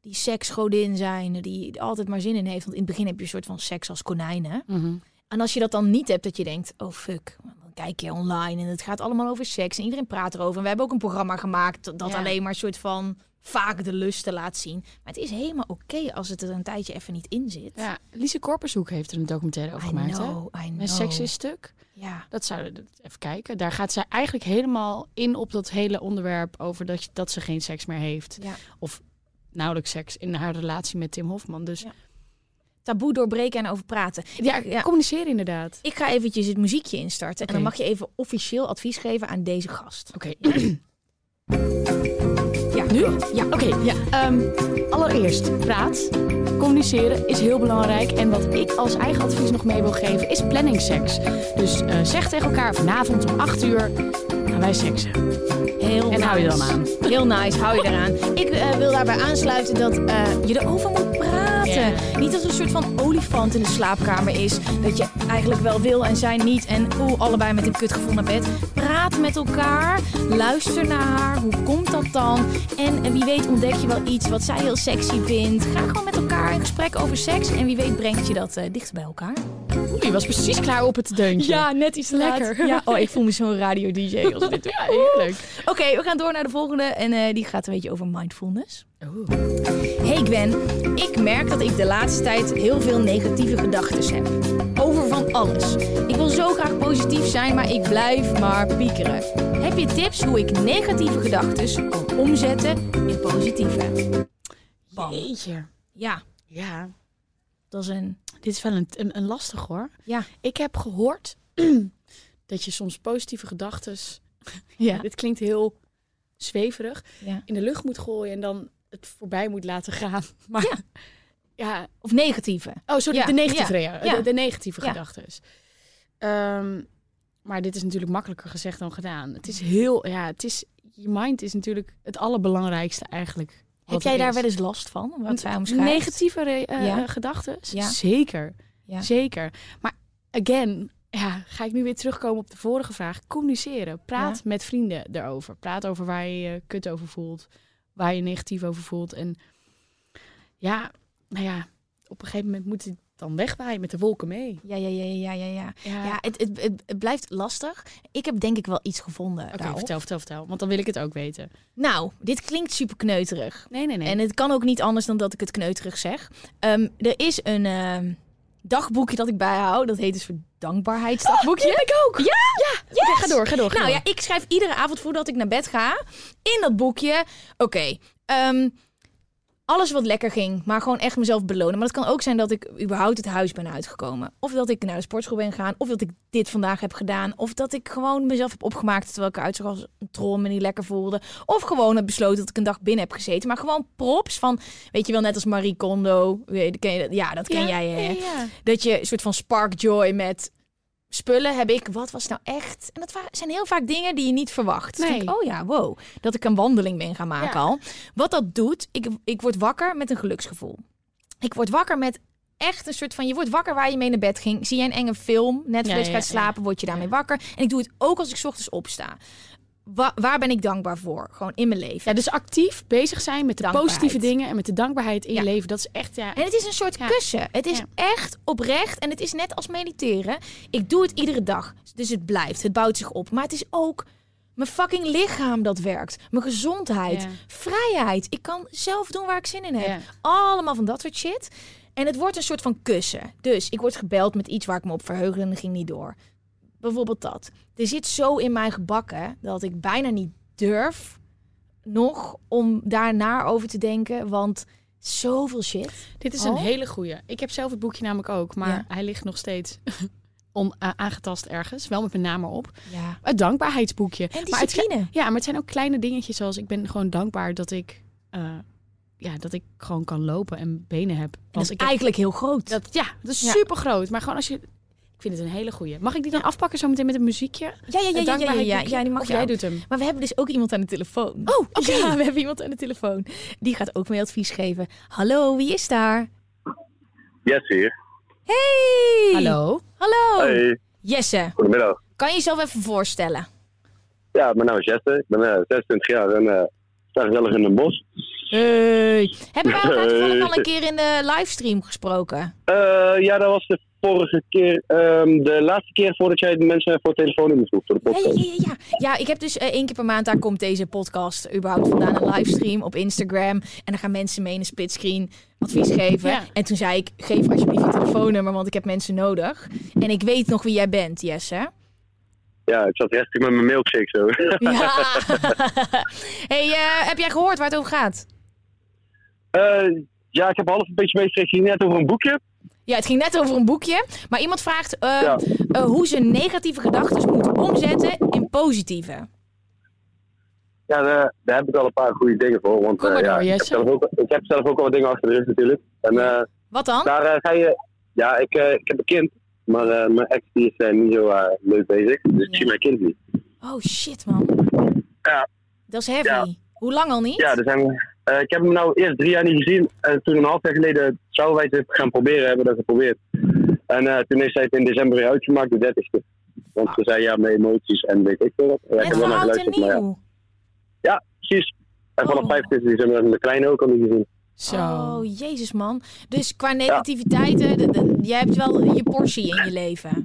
Speaker 3: die seksgodin zijn die er altijd maar zin in heeft. Want in het begin heb je een soort van seks als konijnen.
Speaker 2: Mhm.
Speaker 3: En als je dat dan niet hebt, dat je denkt, oh fuck, dan kijk je online en het gaat allemaal over seks en iedereen praat erover. En we hebben ook een programma gemaakt dat dat
Speaker 2: Ja.
Speaker 3: alleen maar een soort van vaak de lusten laat zien. Maar het is helemaal oké als het er een tijdje even niet in zit.
Speaker 2: Ja, Lise Korpershoek heeft er een documentaire over
Speaker 3: I
Speaker 2: gemaakt. Hè?
Speaker 3: know, I know.
Speaker 2: Met seks is stuk.
Speaker 3: Ja.
Speaker 2: Dat zouden we even kijken. Daar gaat zij eigenlijk helemaal in op dat hele onderwerp over dat, je- dat ze geen seks meer heeft.
Speaker 3: ja.
Speaker 2: Of nauwelijks seks in haar relatie met Tim Hofman. Dus
Speaker 3: Ja.
Speaker 2: ja,
Speaker 3: Taboe doorbreken en over praten. Ja.
Speaker 2: communiceren inderdaad.
Speaker 3: Ik ga eventjes het muziekje instarten. En
Speaker 2: Oké.
Speaker 3: dan mag je even officieel advies geven aan deze gast.
Speaker 2: Oké,
Speaker 3: Ja,
Speaker 2: nu? Ja, oké. ja. Ehm, allereerst, praat. Communiceren is heel belangrijk. En wat ik als eigen advies nog mee wil geven, is planning seks. Dus eh, zeg tegen elkaar, vanavond om 8 uur gaan wij seksen.
Speaker 3: Heel
Speaker 2: En hou je
Speaker 3: nice.
Speaker 2: dan aan.
Speaker 3: Heel nice, hou je eraan. Ik eh, wil daarbij aansluiten dat eh, je erover moet praten.
Speaker 2: Ja.
Speaker 3: Niet als een soort van olifant in de slaapkamer is. Dat je eigenlijk wel wil en zij niet. En oeh, allebei met een kutgevoel naar bed. Praat met elkaar. Luister naar haar. Hoe komt dat dan? En eh, wie weet ontdek je wel iets wat zij heel sexy vindt. Ga gewoon met elkaar in gesprek over seks. En wie weet brengt je dat eh, dichter bij elkaar.
Speaker 2: Oeh, je was precies klaar op het deuntje.
Speaker 3: net iets
Speaker 2: Lekker.
Speaker 3: Ja, oh, ik voel me zo'n radio-dj als ik dit doe.
Speaker 2: Ja, heerlijk.
Speaker 3: Oké, we gaan door naar de volgende. En eh, die gaat een beetje over mindfulness. Hey Gwen, ik merk dat ik de laatste tijd heel veel negatieve gedachten heb. Over van alles. Ik wil zo graag positief zijn, maar ik blijf maar piekeren. Heb je tips hoe ik negatieve gedachten kan omzetten in positieve? Bam.
Speaker 2: Jeetje.
Speaker 3: Ja,
Speaker 2: Ja,
Speaker 3: dat is een...
Speaker 2: dit is wel een, een, een lastig hoor.
Speaker 3: Ja.
Speaker 2: Ik heb gehoord dat je soms positieve gedachten.
Speaker 3: Ja.
Speaker 2: Dit klinkt heel zweverig.
Speaker 3: ja.
Speaker 2: In de lucht moet gooien en dan het voorbij moet laten gaan. Maar ja.
Speaker 3: Of negatieve.
Speaker 2: Oh, sorry,
Speaker 3: Ja,
Speaker 2: de negatieve,
Speaker 3: ja,
Speaker 2: rea-
Speaker 3: ja.
Speaker 2: de, de negatieve
Speaker 3: Ja.
Speaker 2: gedachten. maar dit is natuurlijk makkelijker gezegd dan gedaan. Het is heel, ja, het is, je mind is natuurlijk het allerbelangrijkste eigenlijk.
Speaker 3: heb jij daar wel eens last van? Wat zij omschrijft?
Speaker 2: Negatieve re- eh,
Speaker 3: Ja.
Speaker 2: gedachten?
Speaker 3: Ja.
Speaker 2: Zeker,
Speaker 3: Ja.
Speaker 2: zeker. Maar again, ja, ga ik nu weer terugkomen op de vorige vraag. Communiceren, praat
Speaker 3: Ja.
Speaker 2: met vrienden erover. Praat over waar je je kut over voelt, waar je negatief over voelt. En ja, nou ja, op een gegeven moment moet het dan wegbaaien met de wolken mee.
Speaker 3: Ja, ja, ja, ja, ja, ja.
Speaker 2: Ja,
Speaker 3: Ja, het, het, het, het blijft lastig. Ik heb denk ik wel iets gevonden.
Speaker 2: oké,
Speaker 3: daarop.
Speaker 2: vertel, vertel, vertel. Want dan wil ik het ook weten.
Speaker 3: Nou, dit klinkt super kneuterig.
Speaker 2: Nee, nee, nee.
Speaker 3: En het kan ook niet anders dan dat ik het kneuterig zeg. Ehm, er is een ehm, dagboekje dat ik bijhoud. Dat heet dus voor dankbaarheidsdagboekje. ik ook. Ja, ja.
Speaker 2: Oké, ga door, ga door. Ga
Speaker 3: Nou
Speaker 2: door.
Speaker 3: ja, ik schrijf iedere avond voordat ik naar bed ga in dat boekje. Oké, ehm, alles wat lekker ging, maar gewoon echt mezelf belonen. Maar het kan ook zijn dat ik überhaupt het huis ben uitgekomen. Of dat ik naar de sportschool ben gegaan. Of dat ik dit vandaag heb gedaan. Of dat ik gewoon mezelf heb opgemaakt terwijl ik eruit zag als een troll en me niet lekker voelde. Of gewoon heb besloten dat ik een dag binnen heb gezeten. Maar gewoon props van, weet je wel, net als Marie Kondo. Weet- ken je dat? Ja, dat ken
Speaker 2: Ja,
Speaker 3: jij hè?
Speaker 2: ja, ja.
Speaker 3: Dat je een soort van spark joy met spullen heb ik, wat was nou echt? En dat wa- zijn heel vaak dingen die je niet verwacht. Dus
Speaker 2: Nee.
Speaker 3: denk ik, oh ja, wow, dat ik een wandeling ben gaan maken
Speaker 2: Ja.
Speaker 3: al. Wat dat doet, ik, ik word wakker met een geluksgevoel. Ik word wakker met echt een soort van, je wordt wakker waar je mee naar bed ging. Zie je een enge film, Netflix
Speaker 2: Ja, ja,
Speaker 3: gaat slapen, word je daarmee wakker. En ik doe het ook als ik 's ochtends opsta. Wa- waar ben ik dankbaar voor? Gewoon in mijn leven.
Speaker 2: Ja, dus actief bezig zijn met de
Speaker 3: Dankbaarheid.
Speaker 2: positieve dingen en met de dankbaarheid in
Speaker 3: Ja.
Speaker 2: je leven. Dat is echt, ja,
Speaker 3: En het is een soort
Speaker 2: Ja.
Speaker 3: kussen. Het is
Speaker 2: Ja.
Speaker 3: echt oprecht en het is net als mediteren. Ik doe het iedere dag, dus het blijft. Het bouwt zich op. Maar het is ook mijn fucking lichaam dat werkt. Mijn gezondheid,
Speaker 2: Ja.
Speaker 3: vrijheid. Ik kan zelf doen waar ik zin in heb.
Speaker 2: Ja.
Speaker 3: Allemaal van dat soort shit. En het wordt een soort van kussen. Dus ik word gebeld met iets waar ik me op verheugde en dat ging niet door. Bijvoorbeeld dat. Er zit zo in mijn gebakken dat ik bijna niet durf nog om daarnaar over te denken. Want zoveel shit.
Speaker 2: dit is
Speaker 3: Oh.
Speaker 2: een hele goeie. Ik heb zelf het boekje namelijk ook, maar
Speaker 3: Ja.
Speaker 2: hij ligt nog steeds on, a- aangetast ergens. Wel met mijn naam erop.
Speaker 3: Ja.
Speaker 2: Het dankbaarheidsboekje.
Speaker 3: En
Speaker 2: Maar het,
Speaker 3: discipline.
Speaker 2: Ja, maar het zijn ook kleine dingetjes zoals ik ben gewoon dankbaar dat ik, eh, ja, dat ik gewoon kan lopen en benen heb.
Speaker 3: dat is
Speaker 2: ik heb-
Speaker 3: eigenlijk heel groot.
Speaker 2: dat, ja, dat is
Speaker 3: Ja.
Speaker 2: super groot. Maar gewoon als je, ik vind het een hele goeie. Mag ik die dan afpakken zo meteen met een muziekje?
Speaker 3: ja, ja, ja,
Speaker 2: Het
Speaker 3: ja, ja, ja, ja,
Speaker 2: dankbaarheidsboekje?
Speaker 3: ja, die mag
Speaker 2: Of
Speaker 3: je
Speaker 2: jij
Speaker 3: ook.
Speaker 2: doet hem.
Speaker 3: Maar we hebben dus ook iemand aan de telefoon. Oh, oké. Ja, we hebben iemand aan de telefoon. Die gaat ook mee advies geven. Hallo, wie is daar?
Speaker 5: Yes, hier.
Speaker 3: Hey!
Speaker 2: Hallo. Oh.
Speaker 3: Hallo!
Speaker 5: Hey,
Speaker 3: Jesse,
Speaker 5: goedemiddag.
Speaker 3: kan je jezelf even voorstellen?
Speaker 5: Ja, mijn naam is Jesse. Ik ben eh, 26 jaar en eh, sta gezellig in een bos.
Speaker 3: Hey! Hebben wij elkaar toevallig
Speaker 5: Hey.
Speaker 3: al een keer in de livestream gesproken?
Speaker 5: Eh, ja, dat was de vorige keer, ehm, de laatste keer voordat jij de mensen voor telefoonnummers vroeg voor de
Speaker 3: Ja, ja,
Speaker 5: podcast.
Speaker 3: ja, ja. Ja, ik heb dus eh, één keer per maand, daar komt deze podcast überhaupt vandaan, een livestream op Instagram. En dan gaan mensen mee in een splitscreen advies geven.
Speaker 2: Ja.
Speaker 3: En toen zei ik, geef alsjeblieft je telefoonnummer, want ik heb mensen nodig. En ik weet nog wie jij bent, Jesse.
Speaker 5: Ja, ik zat rechtstreeks met mijn milkshake zo.
Speaker 3: Ja. hey, eh, heb jij gehoord waar het over gaat?
Speaker 5: Eh, ja, ik heb half een beetje meegekregen hier net over een boekje.
Speaker 3: Ja, het ging net over een boekje. Maar iemand vraagt eh,
Speaker 5: Ja.
Speaker 3: eh, hoe ze negatieve gedachten moeten omzetten in positieve.
Speaker 5: Ja, daar, daar heb ik al een paar goede dingen voor. Want
Speaker 2: Kom
Speaker 5: eh,
Speaker 2: maar
Speaker 5: ja,
Speaker 2: door,
Speaker 5: ik, heb
Speaker 2: Jesse.
Speaker 5: zelf ook, ik heb zelf ook al wat dingen achter de rug natuurlijk. En eh,
Speaker 3: Wat
Speaker 2: Oh.
Speaker 3: dan?
Speaker 5: daar eh, ga je... Ja, ik, eh, ik heb een kind. Maar eh, mijn ex die is eh, niet zo eh, leuk bezig. Dus ik zie mijn kind niet.
Speaker 3: Oh shit, man.
Speaker 5: Nou. Ja.
Speaker 3: Dat is heavy.
Speaker 5: Ja.
Speaker 3: Hoe lang al niet?
Speaker 5: Ja, er zijn, eh, ik heb hem nou eerst drie jaar niet gezien. En toen een half jaar geleden zouden wij het gaan proberen, hebben we dat geprobeerd. En eh, toen heeft zij het in december weer uitgemaakt, de 30ste. Want ze zei ja, mijn emoties en weet ik veel wat. Ja, ik
Speaker 3: en
Speaker 5: heb wel naar
Speaker 3: van oud en
Speaker 5: geluisterd, maar ja.
Speaker 3: nieuw.
Speaker 5: ja, precies. En vanaf
Speaker 3: Oh.
Speaker 5: 25 december hebben we de kleine ook al niet gezien.
Speaker 2: Zo.
Speaker 3: Oh, jezus man. Dus qua negativiteit, eh, d- d- jij hebt wel je portie in je leven.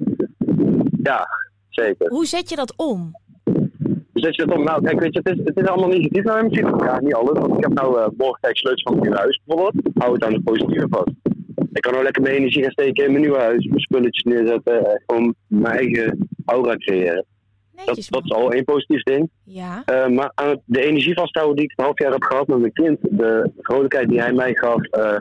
Speaker 5: Ja, zeker.
Speaker 3: Hoe zet je dat om?
Speaker 5: Dus als je dat om, nou kijk, weet je, het is, het is allemaal negatief naar hem misschien. Ja, niet alles. Want ik heb nou eh morgen krijg ik sleutels van mijn nieuwe huis bijvoorbeeld. Hou het aan de positieve vast. Ik kan nou lekker mijn energie gaan steken in mijn nieuwe huis. Mijn spulletjes neerzetten. En gewoon mijn eigen aura creëren. Dat,
Speaker 3: Netjes
Speaker 5: dat is
Speaker 3: man.
Speaker 5: al één positief ding.
Speaker 3: Ja,
Speaker 5: Eh, maar aan het- de energie vasthouden die ik een half jaar heb gehad met mijn kind, de vrolijkheid die hij mij gaf, eh,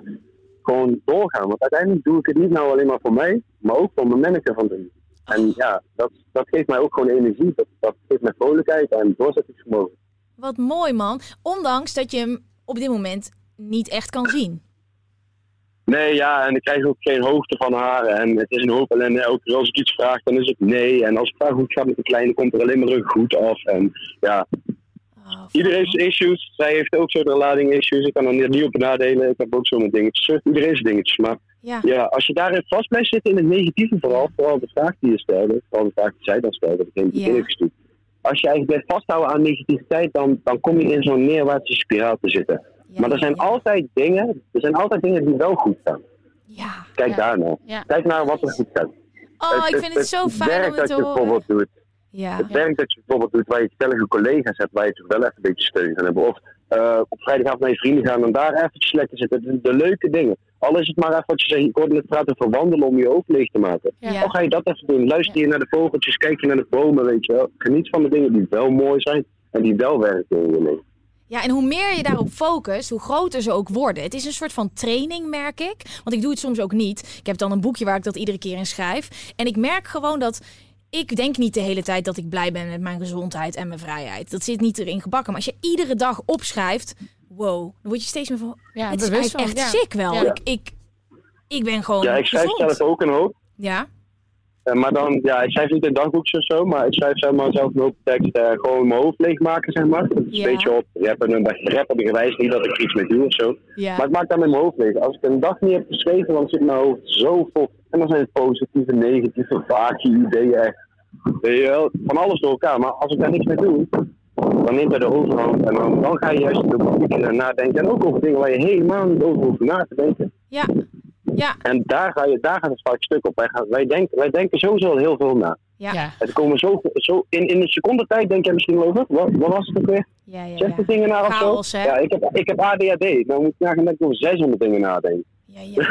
Speaker 5: gewoon doorgaan. Want uiteindelijk doe ik het niet nou alleen maar voor mij, maar ook voor mijn manneke van doen. En ja, dat, dat geeft mij ook gewoon energie. Dat, dat geeft mij vrolijkheid en doorzettingsvermogen.
Speaker 3: wat mooi man. Ondanks dat je hem op dit moment niet echt kan zien.
Speaker 5: Nee, ja, en ik krijg ook geen hoogte van haar. En het is een hoop ellende. Elke keer als ik iets vraag, dan is het nee. En als ik vraag hoe het gaat met de kleine, komt er alleen maar een goed af. En ja,
Speaker 3: Oh,
Speaker 5: Iedereen heeft zijn issues. Zij heeft ook zo'n lading issues. Ik kan er niet- niet op nadelen. Ik heb ook zo'n dingetjes. Iedereen zijn dingetjes. Maar
Speaker 3: Ja.
Speaker 5: ja, als je daarin vast blijft zitten in het negatieve vooral, vooral de vraag die je stelde, vooral de vraag die zij dan stelde, dat ik in het
Speaker 3: Ja.
Speaker 5: begin even doe. Als je eigenlijk blijft vasthouden aan negativiteit, dan, dan kom je in zo'n neerwaartse spiraal te zitten.
Speaker 3: Ja,
Speaker 5: maar er
Speaker 3: ja,
Speaker 5: zijn
Speaker 3: ja.
Speaker 5: altijd dingen, er zijn altijd dingen die wel goed gaan.
Speaker 3: Ja.
Speaker 5: Kijk
Speaker 2: Ja.
Speaker 5: daarnaar.
Speaker 2: Ja.
Speaker 5: Kijk naar wat er goed gaat.
Speaker 3: Oh, ik vind het zo fijn
Speaker 5: werk
Speaker 3: om het
Speaker 5: dat
Speaker 3: te
Speaker 5: je
Speaker 3: horen.
Speaker 5: bijvoorbeeld doet.
Speaker 3: Ja.
Speaker 5: Het werk dat je bijvoorbeeld doet waar je stellige collega's hebt, waar je toch wel even een beetje steun aan hebt. Of eh, op vrijdagavond naar je vrienden gaan en daar eventjes lekker zitten. De, de leuke dingen. Al is het maar even wat je zegt, ik hoorde net praten over wandelen om je hoofd leeg te maken.
Speaker 2: Ja.
Speaker 5: Al ga je dat even doen. Luister je naar de vogeltjes, kijk je naar de bomen, weet je wel. Geniet van de dingen die wel mooi zijn en die wel werken in je leven.
Speaker 3: Ja, en hoe meer je daarop focust, hoe groter ze ook worden. Het is een soort van training, merk ik. Want ik doe het soms ook niet. Ik heb dan een boekje waar ik dat iedere keer in schrijf. En ik merk gewoon dat. Ik denk niet de hele tijd dat ik blij ben met mijn gezondheid en mijn vrijheid. Dat zit niet erin gebakken. Maar als je iedere dag opschrijft, wow, dan word je steeds meer van.
Speaker 2: Ja,
Speaker 3: het is
Speaker 2: bewust
Speaker 3: eigenlijk
Speaker 2: van,
Speaker 3: echt
Speaker 2: ja.
Speaker 3: sick wel.
Speaker 2: Ja.
Speaker 3: Ik, ik, ik ben gewoon
Speaker 5: Ja, ik schrijf
Speaker 3: gezond.
Speaker 5: zelf ook een hoop.
Speaker 3: Ja,
Speaker 5: Eh, maar dan, ja, ik schrijf niet in dagboekjes of zo, maar ik schrijf zeg maar, zelf een hoop tekst eh, gewoon in mijn hoofd leegmaken, zeg maar. Dat is
Speaker 2: Ja.
Speaker 5: een beetje op rappen, een beetje rappen gewijs, niet dat ik er iets mee doe of zo.
Speaker 2: Ja.
Speaker 5: Maar ik maak dat met mijn hoofd leeg. Als ik een dag niet heb geschreven, dan zit mijn hoofd zo vol. En dan zijn het positieve, negatieve, vaagje ideeën echt. Weet je wel, van alles door elkaar. Maar als ik daar niks mee doe, dan neemt dat de overhand. En dan, dan ga je juist over dingen nadenken. En ook over dingen waar je helemaal niet over hoeft na te denken.
Speaker 3: Ja. Ja.
Speaker 5: En daar, ga je, daar gaat het vaak stuk op. Wij, gaan, wij, denken, wij denken sowieso al heel veel na.
Speaker 3: Ja. Ja.
Speaker 2: Ja.
Speaker 5: Het komen zo, zo in, in een seconde tijd denk jij misschien wel over. Wat, wat was het ook weer?
Speaker 3: Ja. Ja.
Speaker 5: 60 dingen na of
Speaker 3: Chaos,
Speaker 5: zo?
Speaker 3: hè?
Speaker 5: Ja, ik heb, ik heb ADHD. Nou moet ik nagaan dat ik nog 600 dingen nadenk.
Speaker 3: Ja, ja.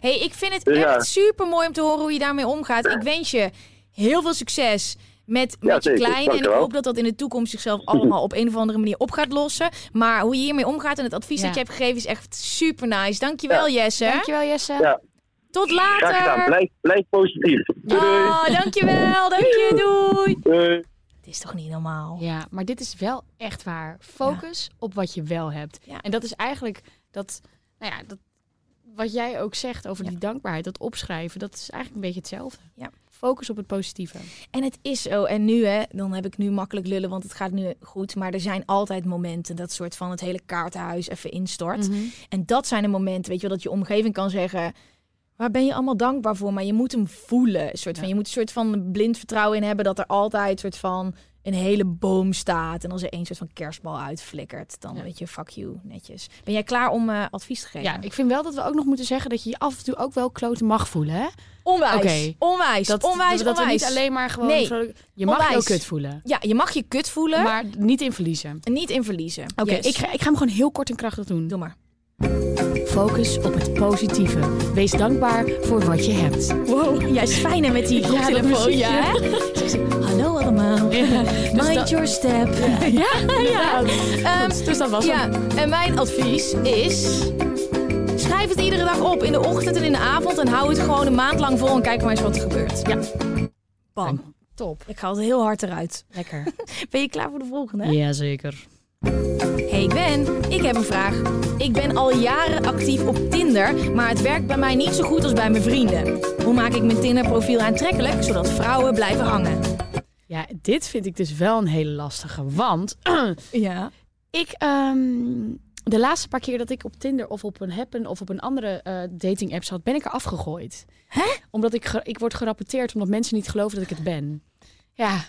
Speaker 3: hey, ik vind het
Speaker 5: Dus ja.
Speaker 3: echt super mooi om te horen hoe je daarmee omgaat. Ik wens je heel veel succes met,
Speaker 5: Ja,
Speaker 3: met je
Speaker 5: zeker.
Speaker 3: kleine. En ik
Speaker 5: Dankjewel.
Speaker 3: hoop dat dat in de toekomst zichzelf allemaal op een of andere manier op gaat lossen. Maar hoe je hiermee omgaat en het advies
Speaker 2: Ja.
Speaker 3: dat je hebt gegeven is echt super nice. Dankjewel, Jesse.
Speaker 2: Dankjewel Jesse.
Speaker 5: Ja,
Speaker 3: Tot
Speaker 5: graag gedaan.
Speaker 3: later.
Speaker 5: Blijf, blijf positief. Doei doei.
Speaker 3: Oh, dankjewel. Dank je. Doei.
Speaker 5: doei.
Speaker 3: Het is toch niet normaal?
Speaker 2: Ja, maar dit is wel echt waar. Focus op wat je wel hebt.
Speaker 3: Ja.
Speaker 2: En dat is eigenlijk dat, nou ja, dat, wat jij ook zegt over die dankbaarheid, dat opschrijven, dat is eigenlijk een beetje hetzelfde.
Speaker 3: Ja.
Speaker 2: Focus op het positieve.
Speaker 3: En het is zo. En nu, hè, dan heb ik nu makkelijk lullen, want het gaat nu goed. Maar er zijn altijd momenten dat soort van het hele kaartenhuis even instort.
Speaker 2: Mhm.
Speaker 3: En dat zijn de momenten, weet je wel, dat je omgeving kan zeggen... Waar ben je allemaal dankbaar voor? Maar je moet hem voelen. Een soort van, Je moet een soort van blind vertrouwen in hebben dat er altijd een soort van een hele boom staat. En als er één soort van kerstbal uitflikkert, dan weet je, fuck you, netjes. Ben jij klaar om eh, advies te geven?
Speaker 2: Ja, ik vind wel dat we ook nog moeten zeggen dat je je af en toe ook wel kloten mag voelen. Hè?
Speaker 3: Onwijs,
Speaker 2: Oké.
Speaker 3: onwijs,
Speaker 2: Dat,
Speaker 3: onwijs,
Speaker 2: dat we
Speaker 3: onwijs.
Speaker 2: niet alleen maar gewoon...
Speaker 3: Nee,
Speaker 2: vrolijk- je mag je ook
Speaker 3: onwijs.
Speaker 2: kut voelen,
Speaker 3: Ja, je mag je kut voelen, maar
Speaker 2: maar niet in verliezen.
Speaker 3: niet in verliezen.
Speaker 2: Oké,
Speaker 3: Yes.
Speaker 2: ik, ga, ik ga hem gewoon heel kort en krachtig doen.
Speaker 3: Doe maar.
Speaker 2: Focus op het positieve. Wees dankbaar voor wat je hebt.
Speaker 3: Wow, jij is fijn hè, met die koptelefoon.
Speaker 2: muziekje.
Speaker 3: Ja, dus hè? Hallo allemaal. Mind
Speaker 2: dat-
Speaker 3: your step.
Speaker 2: Ja, ja.
Speaker 3: Ehm,
Speaker 2: dus dat was
Speaker 3: ja, en mijn advies is... Schrijf het iedere dag op, in de ochtend en in de avond. En hou het gewoon een maand lang vol en kijk maar eens wat er gebeurt.
Speaker 2: Ja.
Speaker 3: Bam.
Speaker 2: Top.
Speaker 3: Ik ga altijd heel hard eruit.
Speaker 2: Lekker.
Speaker 3: Ben je klaar voor de volgende?
Speaker 2: Jazeker.
Speaker 3: Hey Gwen, ik heb een vraag. Ik ben al jaren actief op Tinder, maar het werkt bij mij niet zo goed als bij mijn vrienden. Hoe maak ik mijn Tinder-profiel aantrekkelijk, zodat vrouwen blijven hangen?
Speaker 2: Ja, dit vind ik dus wel een hele lastige. Want
Speaker 3: Ja.
Speaker 2: ik, ehm, de laatste paar keer dat ik op Tinder of op een Happen of op een andere eh dating app zat, ben ik er afgegooid. Hè? Omdat ik, ge- ik word gerapporteerd omdat mensen niet geloven dat ik het ben. Ja,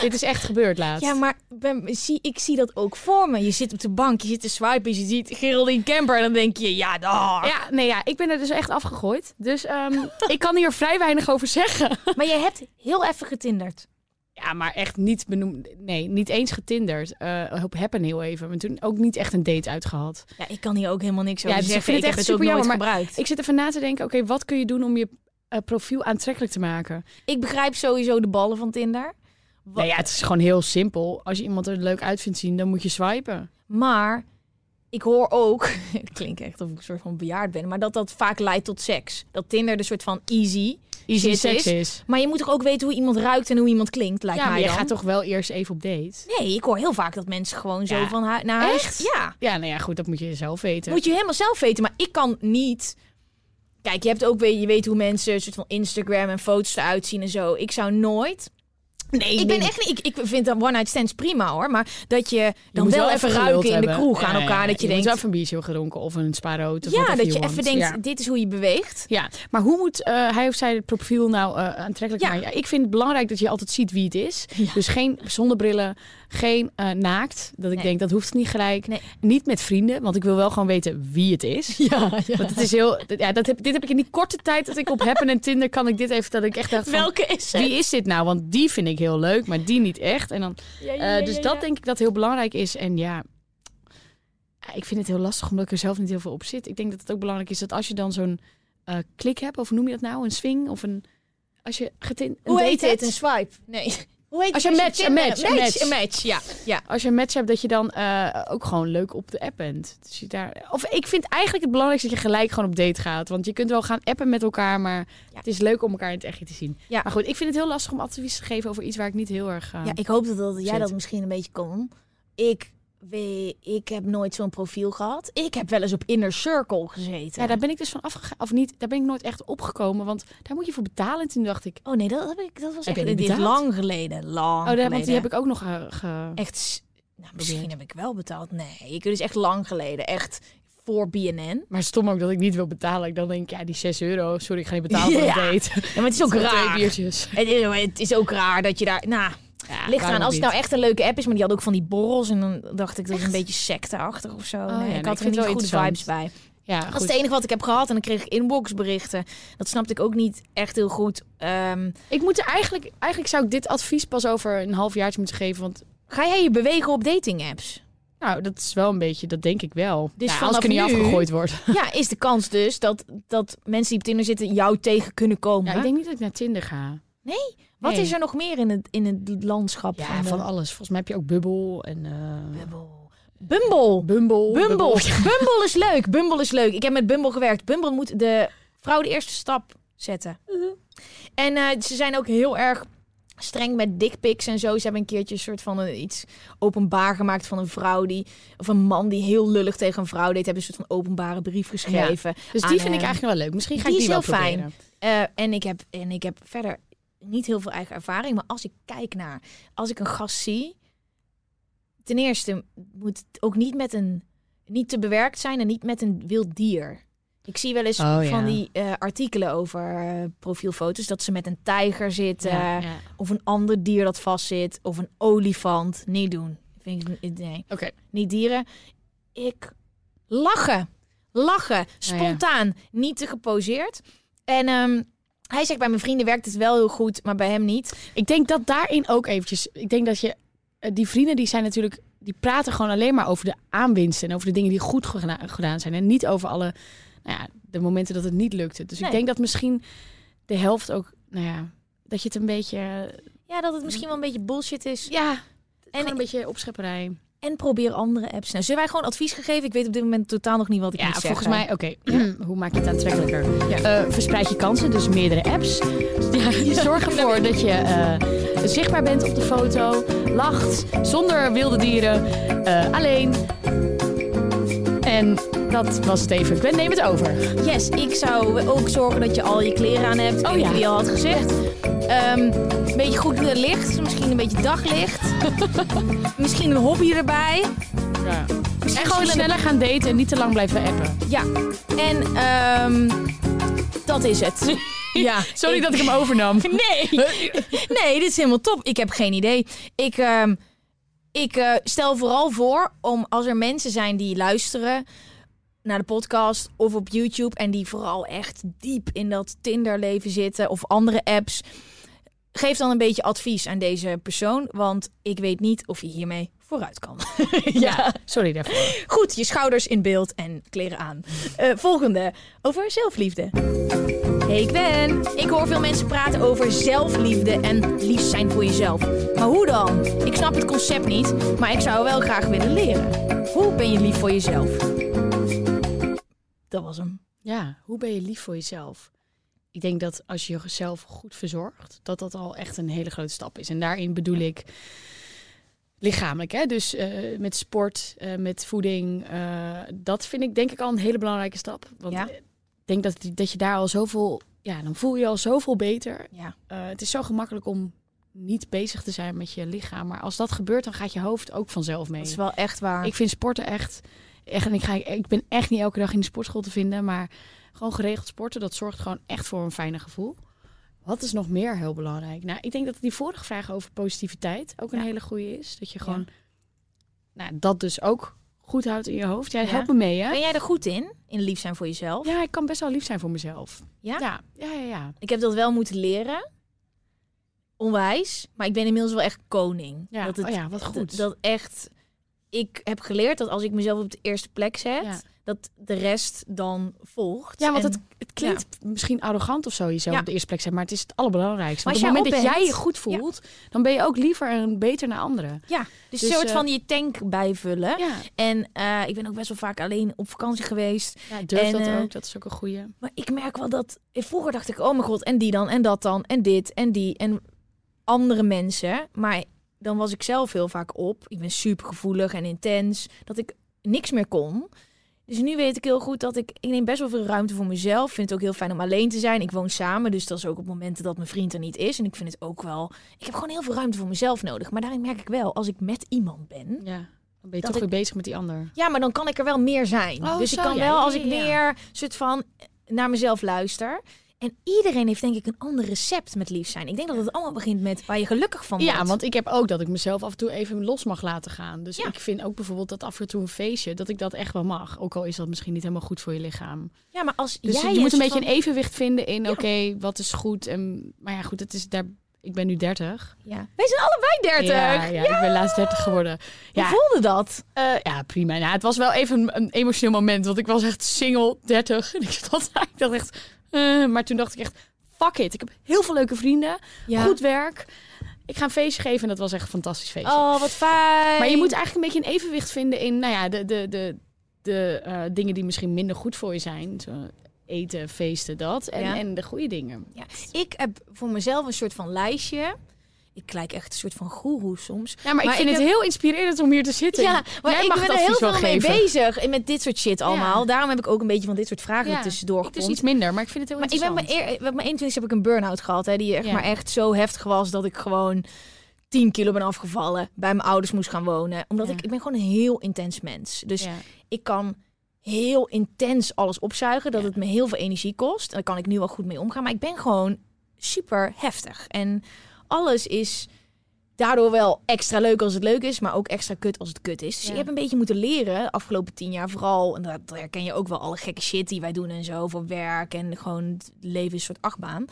Speaker 2: dit is echt gebeurd laatst.
Speaker 3: Ja, maar ben, zie, ik zie dat ook voor me. Je zit op de bank, je zit te swipen, je ziet Geraldine Kemper en dan denk je, ja, daar.
Speaker 2: Ja, nee, ja, ik ben er dus echt afgegooid. Dus ehm, ik kan hier vrij weinig over zeggen.
Speaker 3: Maar jij hebt heel even getinderd.
Speaker 2: Ja, maar echt niet benoemd. Nee, niet eens getinderd. Eh op Happen heel even. Maar toen ook niet echt een date uitgehad.
Speaker 3: Ja, ik kan hier ook helemaal niks over
Speaker 2: dus
Speaker 3: zeggen. ik heb het ook nooit
Speaker 2: superjammer,
Speaker 3: gebruikt. Ik,
Speaker 2: Ik zit even na te denken, oké, wat kun je doen om je eh, profiel aantrekkelijk te maken?
Speaker 3: ik begrijp sowieso de ballen van Tinder.
Speaker 2: Nou ja, het is gewoon heel simpel. Als je iemand er leuk uit vindt zien, dan moet je swipen.
Speaker 3: Maar ik hoor ook, het klinkt echt of ik een soort van bejaard ben, maar dat dat vaak leidt tot seks. Dat Tinder de soort van easy,
Speaker 2: Easy
Speaker 3: shit
Speaker 2: seks
Speaker 3: is.
Speaker 2: is.
Speaker 3: Maar je moet toch ook weten hoe iemand ruikt en hoe iemand klinkt, lijkt
Speaker 2: ja, maar
Speaker 3: mij
Speaker 2: je
Speaker 3: dan.
Speaker 2: gaat toch wel eerst even op date?
Speaker 3: Nee, ik hoor heel vaak dat mensen gewoon zo
Speaker 2: Ja.
Speaker 3: van hui- naar huis... Ja.
Speaker 2: Ja, nou ja, goed, dat moet je zelf weten.
Speaker 3: Moet je helemaal zelf weten, maar ik kan niet... Kijk, je hebt ook weer, je weet hoe mensen een soort van Instagram en foto's eruit zien en zo. Ik zou nooit.
Speaker 2: nee,
Speaker 3: Ik ben echt niet. Ik, ik vind dat one night stands prima hoor, maar dat je dan
Speaker 2: moet
Speaker 3: wel, even
Speaker 2: geluld
Speaker 3: ruiken in de
Speaker 2: hebben.
Speaker 3: kroeg aan
Speaker 2: Ja, ja,
Speaker 3: elkaar,
Speaker 2: ja.
Speaker 3: dat je,
Speaker 2: moet
Speaker 3: denkt.
Speaker 2: wel even een biertje hebben gedronken of een spaarrood. of
Speaker 3: ja,
Speaker 2: whatever
Speaker 3: dat je
Speaker 2: you
Speaker 3: even
Speaker 2: want.
Speaker 3: denkt,
Speaker 2: Ja.
Speaker 3: dit is hoe je beweegt.
Speaker 2: Ja, maar hoe moet eh, hij of zij het profiel nou eh, aantrekkelijk
Speaker 3: Ja.
Speaker 2: maken? Ja, ik vind het belangrijk dat je altijd ziet wie het is. Dus geen zonnebrillen, geen eh, naakt. Dat ik
Speaker 3: Nee.
Speaker 2: denk, dat hoeft niet gelijk.
Speaker 3: Nee.
Speaker 2: Niet met vrienden, want ik wil wel gewoon weten wie het is.
Speaker 3: Ja,
Speaker 2: Want het is heel, dat- ja, dat heb, dit heb ik in die korte tijd dat ik op Happen en Tinder kan ik dit even, dat ik echt dacht van,
Speaker 3: Welke is het?
Speaker 2: wie is dit nou? Want die vind ik heel leuk, maar die niet echt. En dan, eh, dus dat denk ik dat heel belangrijk is. En ja, eh, ik vind het heel lastig omdat ik er zelf niet heel veel op zit. Ik denk dat het ook belangrijk is dat als je dan zo'n eh, klik hebt, of hoe noem je dat nou? Een swing of een... Als je getin, een
Speaker 3: Hoe
Speaker 2: date
Speaker 3: heet
Speaker 2: hebt.
Speaker 3: dit? Een swipe? Nee. Hoe heet
Speaker 2: Als
Speaker 3: het
Speaker 2: je
Speaker 3: als
Speaker 2: match, een
Speaker 3: Tinder-
Speaker 2: match, een match.
Speaker 3: Een match, ja. ja.
Speaker 2: Als je een match hebt, dat je dan eh, ook gewoon leuk op de app bent. Dus je daar... Of ik vind eigenlijk het belangrijkste dat je gelijk gewoon op date gaat. Want je kunt wel gaan appen met elkaar, maar
Speaker 3: Ja.
Speaker 2: het is leuk om elkaar in het echt te zien.
Speaker 3: Ja.
Speaker 2: Maar goed, ik vind het heel lastig om advies te geven over iets waar ik niet heel erg... eh,
Speaker 3: Ja, ik hoop dat, dat jij
Speaker 2: Zit.
Speaker 3: dat misschien een beetje kon. Ik we- ik heb nooit zo'n profiel gehad. Ik heb wel eens op Inner Circle gezeten.
Speaker 2: Ja, daar ben ik dus van afgegaan. Of niet, daar ben ik nooit echt opgekomen. Want daar moet je voor betalen. En toen dacht ik,
Speaker 3: Oh nee, dat, heb ik, dat was
Speaker 2: Heb
Speaker 3: echt
Speaker 2: je niet
Speaker 3: dit is
Speaker 2: betaald?
Speaker 3: lang geleden. Lang
Speaker 2: oh, daar, want
Speaker 3: geleden.
Speaker 2: die heb ik ook nog eh, ge...
Speaker 3: echt. s- Nou, misschien heb ik wel betaald. Nee, ik dus echt lang geleden. Echt voor BNN.
Speaker 2: Maar stom ook dat ik niet wil betalen. Ik Dan denk ik, ja, die 6 euro, sorry, ik ga niet betalen voor
Speaker 3: Ja.
Speaker 2: een date.
Speaker 3: Ja, maar het is ook
Speaker 2: Voor
Speaker 3: raar.
Speaker 2: Twee biertjes.
Speaker 3: Het is, eh, het is ook raar dat je daar. Nou,
Speaker 2: Ja,
Speaker 3: ligt
Speaker 2: waarom
Speaker 3: eraan. Als
Speaker 2: niet?
Speaker 3: het nou echt een leuke app is, maar die had ook van die borrels. En dan dacht ik dat is een beetje secteachtig of zo. Oh, nee,
Speaker 2: ja, nee,
Speaker 3: ik
Speaker 2: ik
Speaker 3: had
Speaker 2: vind
Speaker 3: er
Speaker 2: het
Speaker 3: niet
Speaker 2: wel
Speaker 3: goede
Speaker 2: interessant.
Speaker 3: vibes bij.
Speaker 2: Ja,
Speaker 3: Dat
Speaker 2: goed.
Speaker 3: is het enige wat ik heb gehad. En dan kreeg ik inboxberichten. Dat snapte ik ook niet echt heel goed. Ehm,
Speaker 2: Ik moet er eigenlijk, eigenlijk zou ik dit advies pas over een half jaartje moeten geven. Want
Speaker 3: ga jij je bewegen op dating apps?
Speaker 2: nou, dat is wel een beetje, dat denk ik wel.
Speaker 3: Dus
Speaker 2: ja, als ik er niet
Speaker 3: vanaf nu-
Speaker 2: afgegooid word.
Speaker 3: ja, is de kans dus dat, dat mensen die op Tinder zitten jou tegen kunnen komen.
Speaker 2: Ja, ik denk niet dat ik naar Tinder ga.
Speaker 3: Wat
Speaker 2: nee.
Speaker 3: is er nog meer in het, in het landschap?
Speaker 2: Ja,
Speaker 3: van, de-
Speaker 2: van alles. Volgens mij heb je ook Bubble en eh,
Speaker 3: Bumble. Bumble.
Speaker 2: Bumble.
Speaker 3: Bumble. Bumble is leuk. Bumble is leuk. Ik heb met Bumble gewerkt. Bumble moet de vrouw de eerste stap zetten.
Speaker 2: Uh-huh.
Speaker 3: En eh, ze zijn ook heel erg streng met dickpics en zo. Ze hebben een keertje een soort van een, iets openbaar gemaakt van een vrouw die of een man die heel lullig tegen een vrouw deed. Hebben een soort van openbare brief geschreven.
Speaker 2: Dus
Speaker 3: aan eh,
Speaker 2: die vind ik
Speaker 3: hem.
Speaker 2: eigenlijk wel leuk. Misschien ga
Speaker 3: Die
Speaker 2: ik
Speaker 3: is
Speaker 2: die wel
Speaker 3: heel fijn.
Speaker 2: proberen.
Speaker 3: Eh, en, ik heb, en ik heb verder niet heel veel eigen ervaring. Maar als ik kijk naar, als ik een gast zie. Ten eerste moet het ook niet met een. Niet te bewerkt zijn en niet met een wild dier. Ik zie wel eens
Speaker 2: Oh, ja.
Speaker 3: van die eh, artikelen over eh, profielfoto's. Dat ze met een tijger zitten.
Speaker 2: Ja, ja.
Speaker 3: Of een ander dier dat vastzit. Of een olifant. Niet doen. Vind ik, niet- nee
Speaker 2: Oké.
Speaker 3: niet dieren. Ik lachen. Lachen. Spontaan. Niet te geposeerd. En ehm, hij zegt bij mijn vrienden werkt het wel heel goed, maar bij hem niet.
Speaker 2: Ik denk dat daarin ook eventjes. Ik denk dat je. eh, Die vrienden die zijn natuurlijk. Die praten gewoon alleen maar over de aanwinsten. En over de dingen die goed gena- gedaan zijn. En niet over alle. Nou ja, de momenten dat het niet lukte. Dus
Speaker 3: Nee.
Speaker 2: ik denk dat misschien de helft ook. Nou ja. Dat je het een beetje. eh,
Speaker 3: Ja, dat het misschien wel een beetje bullshit is.
Speaker 2: Ja. En
Speaker 3: En-
Speaker 2: een beetje opschepperij.
Speaker 3: En probeer andere apps. Nou, zullen wij gewoon advies geven? Ik weet op dit moment totaal nog niet wat ik
Speaker 2: Ja,
Speaker 3: moet
Speaker 2: volgens
Speaker 3: zeggen.
Speaker 2: mij. Oké. hoe maak je het aantrekkelijker? Eh, verspreid je kansen. Dus meerdere apps. Ja, zorg ervoor dat je eh, zichtbaar bent op de foto. Lacht. Zonder wilde dieren. eh, alleen. En dat was het even. Gwen, neem het over.
Speaker 3: Yes, ik zou ook zorgen dat je al je kleren aan hebt.
Speaker 2: Oh
Speaker 3: Ik weet
Speaker 2: ja.
Speaker 3: wie je al had gezegd. Ehm, een beetje goed eh, licht. Misschien een beetje daglicht. misschien een hobby erbij.
Speaker 2: En gewoon
Speaker 3: zullen-
Speaker 2: sneller gaan daten en niet te lang blijven appen.
Speaker 3: Ja, en ehm, dat is het. ja,
Speaker 2: Sorry dat ik hem overnam.
Speaker 3: Nee. nee, dit is helemaal top. Ik heb geen idee. Ik, ehm, ik eh, stel vooral voor om als er mensen zijn die luisteren naar de podcast of op YouTube en die vooral echt diep in dat Tinderleven zitten of andere apps. Geef dan een beetje advies aan deze persoon, want ik weet niet of je hiermee vooruit kan.
Speaker 2: Ja, sorry daarvoor.
Speaker 3: Goed, je schouders in beeld en kleren aan. Eh, volgende, over zelfliefde. Hey Gwen, ik hoor veel mensen praten over zelfliefde en lief zijn voor jezelf. Maar hoe dan? Ik snap het concept niet, maar ik zou wel graag willen leren. Hoe ben je lief voor jezelf? Dat was hem.
Speaker 2: Ja, hoe ben je lief voor jezelf? Ik denk dat als je jezelf goed verzorgt, dat dat al echt een hele grote stap is. En daarin bedoel ik lichamelijk, hè? dus eh, met sport, eh, met voeding. eh, dat vind ik denk ik al een hele belangrijke stap. Want
Speaker 3: Ja.
Speaker 2: ik denk dat, die- dat je daar al zoveel, ja, dan voel je je al zoveel beter.
Speaker 3: Ja.
Speaker 2: Eh, het is zo gemakkelijk om niet bezig te zijn met je lichaam. Maar als dat gebeurt, dan gaat je hoofd ook vanzelf mee.
Speaker 3: Dat is wel echt waar.
Speaker 2: Ik vind sporten echt. echt en ik, ga, ik ben echt niet elke dag in de sportschool te vinden. Maar gewoon geregeld sporten, dat zorgt gewoon echt voor een fijner gevoel. Wat is nog meer heel belangrijk? Nou, ik denk dat die vorige vraag over positiviteit ook een
Speaker 3: Ja.
Speaker 2: hele goede is. Dat je gewoon nou, dat dus ook goed houdt in je hoofd. Jij helpt me mee, hè?
Speaker 3: Ben jij er goed in? In lief zijn voor jezelf?
Speaker 2: Ja, ik kan best wel lief zijn voor mezelf.
Speaker 3: Ja?
Speaker 2: Ja, ja, ja. ja.
Speaker 3: Ik heb dat wel moeten leren. Onwijs. Maar ik ben inmiddels wel echt koning.
Speaker 2: Ja,
Speaker 3: Dat het
Speaker 2: oh ja, wat goed.
Speaker 3: Dat, dat echt. Ik heb geleerd dat als ik mezelf op de eerste plek zet,
Speaker 2: Ja.
Speaker 3: dat de rest dan volgt.
Speaker 2: Ja, want
Speaker 3: En-
Speaker 2: het, het klinkt misschien arrogant of zo, jezelf
Speaker 3: Ja.
Speaker 2: op de eerste plek zijn, maar het is het allerbelangrijkste.
Speaker 3: Maar
Speaker 2: Want op
Speaker 3: als
Speaker 2: het moment
Speaker 3: jij
Speaker 2: dat
Speaker 3: op
Speaker 2: jij je
Speaker 3: bent-
Speaker 2: goed voelt, dan ben je ook liever en beter naar anderen.
Speaker 3: Ja, dus,
Speaker 2: Dus,
Speaker 3: een soort
Speaker 2: eh,
Speaker 3: van je tank bijvullen.
Speaker 2: Ja.
Speaker 3: En eh, ik ben ook best wel vaak alleen op vakantie geweest.
Speaker 2: Ja, durf
Speaker 3: En,
Speaker 2: dat
Speaker 3: eh,
Speaker 2: ook. Dat is ook een goeie.
Speaker 3: Maar ik merk wel dat. Vroeger dacht ik, oh mijn god, en die dan, en dat dan, en dit, en die, en andere mensen. Maar dan was ik zelf heel vaak op. Ik ben super gevoelig en intens. Dat ik niks meer kon. Dus nu weet ik heel goed dat ik... Ik neem best wel veel ruimte voor mezelf. vind het ook heel fijn om alleen te zijn. Ik woon samen, dus dat is ook op momenten dat mijn vriend er niet is. En ik vind het ook wel... Ik heb gewoon heel veel ruimte voor mezelf nodig. Maar daarin merk ik wel, als ik met iemand ben...
Speaker 2: Ja, dan ben je
Speaker 3: Dat
Speaker 2: toch
Speaker 3: ik-
Speaker 2: weer bezig met die ander.
Speaker 3: Ja, maar dan kan ik er wel meer zijn.
Speaker 2: Oh,
Speaker 3: dus ik
Speaker 2: zo,
Speaker 3: kan
Speaker 2: ja,
Speaker 3: wel,
Speaker 2: ja,
Speaker 3: als
Speaker 2: ja,
Speaker 3: ik
Speaker 2: ja.
Speaker 3: meer soort van eh, naar mezelf luister. En iedereen heeft denk ik een ander recept met lief zijn. Ik denk dat het allemaal begint met waar je gelukkig van wordt.
Speaker 2: Ja, want ik heb ook dat ik mezelf af en toe even los mag laten gaan. Dus
Speaker 3: Ja.
Speaker 2: ik vind ook bijvoorbeeld dat af en toe een feestje, dat ik dat echt wel mag. Ook al is dat misschien niet helemaal goed voor je lichaam.
Speaker 3: Ja, maar als
Speaker 2: Dus
Speaker 3: jij
Speaker 2: je moet een beetje
Speaker 3: soort
Speaker 2: een evenwicht vinden in,
Speaker 3: Ja.
Speaker 2: oké, wat is goed. En, maar ja, goed, het is daar, ik ben nu 30.
Speaker 3: van- Ja. Wij zijn allebei 30.
Speaker 2: e- Ja, ja, ik ben laatst 30 geworden.
Speaker 3: Hoe
Speaker 2: Ja,
Speaker 3: voelde dat?
Speaker 2: eh, ja prima. Nou, het was wel even een, een emotioneel moment, want ik was echt single 30. En ik zat daar, ik dacht echt, eh, maar toen dacht ik echt, fuck it. Ik heb heel veel leuke vrienden,
Speaker 3: Ja.
Speaker 2: goed werk. Ik ga een feestje geven en dat was echt een fantastisch feestje.
Speaker 3: Oh, wat fijn.
Speaker 2: Maar je moet eigenlijk een beetje een evenwicht vinden in nou ja, de, de, de, de eh, dingen die misschien minder goed voor je zijn. Zo eten, feesten, dat. En,
Speaker 3: Ja.
Speaker 2: en de goede dingen.
Speaker 3: Ja, ik heb voor mezelf een soort van lijstje. Ik lijk echt een soort van goeroe soms.
Speaker 2: Ja, maar, ik vind
Speaker 3: ik
Speaker 2: het heel inspirerend om hier te zitten.
Speaker 3: Ja, maar
Speaker 2: Jij
Speaker 3: ik
Speaker 2: mag
Speaker 3: ben
Speaker 2: het
Speaker 3: er heel
Speaker 2: advies
Speaker 3: veel
Speaker 2: wel
Speaker 3: mee
Speaker 2: geven.
Speaker 3: bezig. En met dit soort shit allemaal. Daarom heb ik ook een beetje van dit soort vragen
Speaker 2: Ja.
Speaker 3: er tussendoor
Speaker 2: Ik dus
Speaker 3: gepompt.
Speaker 2: iets minder, maar ik vind het heel
Speaker 3: Maar ik ben
Speaker 2: interessant.
Speaker 3: mijn, eer- met mijn 21 heb ik een burn-out gehad. Hè, die echt
Speaker 2: Ja.
Speaker 3: maar echt zo heftig was dat ik gewoon 10 kilo ben afgevallen. Bij mijn ouders moest gaan wonen. Omdat
Speaker 2: Ja.
Speaker 3: ik, ik ben gewoon een heel intens mens. Dus
Speaker 2: Ja.
Speaker 3: ik kan heel intens alles opzuigen. Dat het me heel veel energie kost. Daar kan ik nu wel goed mee omgaan. Maar ik ben gewoon super heftig. En alles is daardoor wel extra leuk als het leuk is, maar ook extra kut als het kut is. Dus
Speaker 2: Ja.
Speaker 3: ik heb een beetje moeten leren, de afgelopen tien jaar vooral. En dat dat herken je ook wel, alle gekke shit die wij doen en zo, voor werk en gewoon het leven is een soort achtbaan.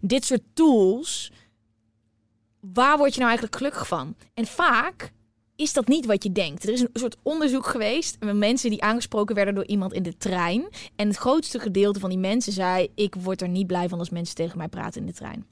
Speaker 3: Dit soort tools, waar word je nou eigenlijk gelukkig van? En vaak is dat niet wat je denkt. Er is een soort onderzoek geweest met mensen die aangesproken werden door iemand in de trein. En het grootste gedeelte van die mensen zei, ik word er niet blij van als mensen tegen mij praten in de trein.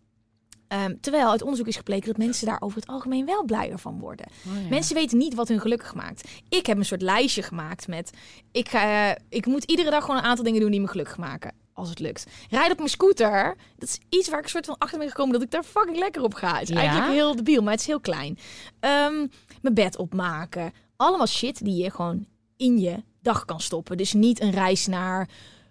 Speaker 3: Ehm, terwijl uit onderzoek is gebleken dat mensen daar over het algemeen wel blijer van worden. Mensen weten niet wat hun gelukkig maakt. Ik heb een soort lijstje gemaakt met... Ik, ga, eh, ik moet iedere dag gewoon een aantal dingen doen die me gelukkig maken. Als het lukt. Rijden op mijn scooter. Dat is iets waar ik een soort van achter ben gekomen dat ik daar fucking lekker op ga. Het is
Speaker 2: Ja?
Speaker 3: eigenlijk heel debiel, maar het is heel klein. Ehm, mijn bed opmaken. Allemaal shit die je gewoon in je dag kan stoppen. Dus niet een reis naar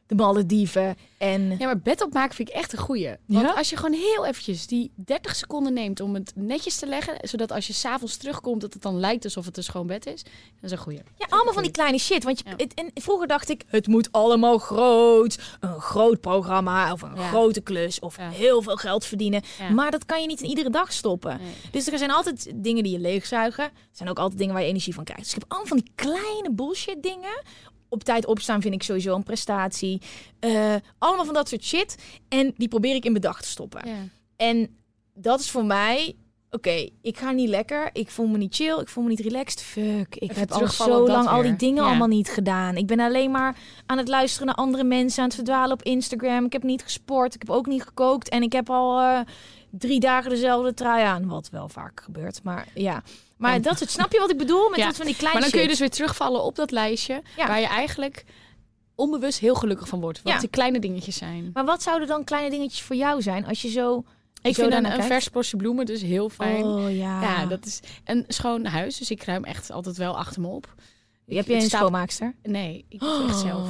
Speaker 3: de Malediven en...
Speaker 2: Ja, maar bed opmaken vind ik echt een goeie. Want
Speaker 3: Ja?
Speaker 2: als je gewoon heel eventjes die 30 seconden neemt om het netjes te leggen... zodat als je s'avonds terugkomt dat het dan lijkt alsof het een schoon bed is... dat is een goeie.
Speaker 3: Ja, allemaal van die kleine shit. Want je,
Speaker 2: Ja.
Speaker 3: het- en vroeger dacht ik, het moet allemaal groot. Een groot programma of een
Speaker 2: Ja.
Speaker 3: grote klus of
Speaker 2: Ja.
Speaker 3: heel veel geld verdienen.
Speaker 2: Ja.
Speaker 3: Maar dat kan je niet in iedere dag stoppen.
Speaker 2: Nee.
Speaker 3: Dus er zijn altijd dingen die je leegzuigen. Er zijn ook altijd dingen waar je energie van krijgt. Dus ik heb allemaal van die kleine bullshit dingen. Op tijd opstaan vind ik sowieso een prestatie. Eh, allemaal van dat soort shit. En die probeer ik in bedacht te stoppen.
Speaker 2: Ja.
Speaker 3: En dat is voor mij. Oké, ik ga niet lekker. Ik voel me niet chill. Ik voel me niet relaxed. Fuck. Ik heb al
Speaker 2: terugvallen op
Speaker 3: zo
Speaker 2: dat
Speaker 3: lang al die
Speaker 2: weer.
Speaker 3: dingen
Speaker 2: Ja.
Speaker 3: allemaal niet gedaan. Ik ben alleen maar aan het luisteren naar andere mensen. Aan het verdwalen op Instagram. Ik heb niet gesport. Ik heb ook niet gekookt. En ik heb al eh, drie dagen dezelfde trui aan. Wat wel vaak gebeurt. Maar ja. Maar
Speaker 2: Ja.
Speaker 3: dat soort. Snap je wat ik bedoel? Met
Speaker 2: Ja.
Speaker 3: dat van die kleine
Speaker 2: Maar dan kun je
Speaker 3: shit.
Speaker 2: dus weer terugvallen op dat lijstje
Speaker 3: Ja.
Speaker 2: waar je eigenlijk onbewust heel gelukkig van wordt. Wat
Speaker 3: Ja.
Speaker 2: die kleine dingetjes zijn.
Speaker 3: Maar wat zouden dan kleine dingetjes voor jou zijn als je zo.
Speaker 2: dus- Ik
Speaker 3: zo
Speaker 2: vind
Speaker 3: daarnaar
Speaker 2: een, een
Speaker 3: kijkt?
Speaker 2: vers portie bloemen dus heel fijn.
Speaker 3: Oh ja.
Speaker 2: Ja, dat is een schoon huis. Dus ik ruim echt altijd wel achter me op.
Speaker 3: Heb je
Speaker 2: ik
Speaker 3: een
Speaker 2: sta-
Speaker 3: schoonmaakster?
Speaker 2: Nee, ik doe het echt zelf.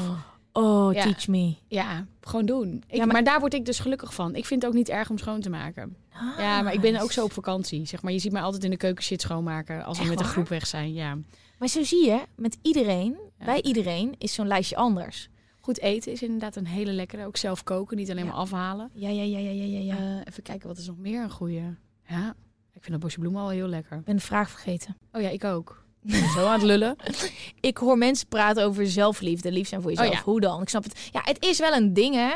Speaker 3: Oh,
Speaker 2: Ja.
Speaker 3: teach me.
Speaker 2: Ja, gewoon doen. Ik,
Speaker 3: Ja, maar-
Speaker 2: maar... daar word ik dus gelukkig van. Ik vind het ook niet erg om schoon te maken.
Speaker 3: Ah,
Speaker 2: Ja, maar ik ben ook zo op vakantie. Zeg maar, je ziet mij altijd in de keuken shit schoonmaken als we
Speaker 3: Echt
Speaker 2: met een
Speaker 3: waar?
Speaker 2: groep weg zijn. Ja.
Speaker 3: Maar zo zie je, met iedereen, bij iedereen is zo'n lijstje anders.
Speaker 2: Goed eten is inderdaad een hele lekkere. Ook zelf koken, niet alleen maar afhalen.
Speaker 3: Ja, ja, ja, ja, ja, ja. ja.
Speaker 2: Eh, even kijken, wat is nog meer een goede? Ja, ik vind dat bosje bloemen al heel lekker.
Speaker 3: Ik ben de vraag vergeten.
Speaker 2: Oh ja, ik ook. Ik ben Zo aan het lullen.
Speaker 3: Ik hoor mensen praten over zelfliefde, lief zijn voor jezelf.
Speaker 2: Oh ja.
Speaker 3: Hoe dan? Ik snap het. Ja, het is wel een ding, hè?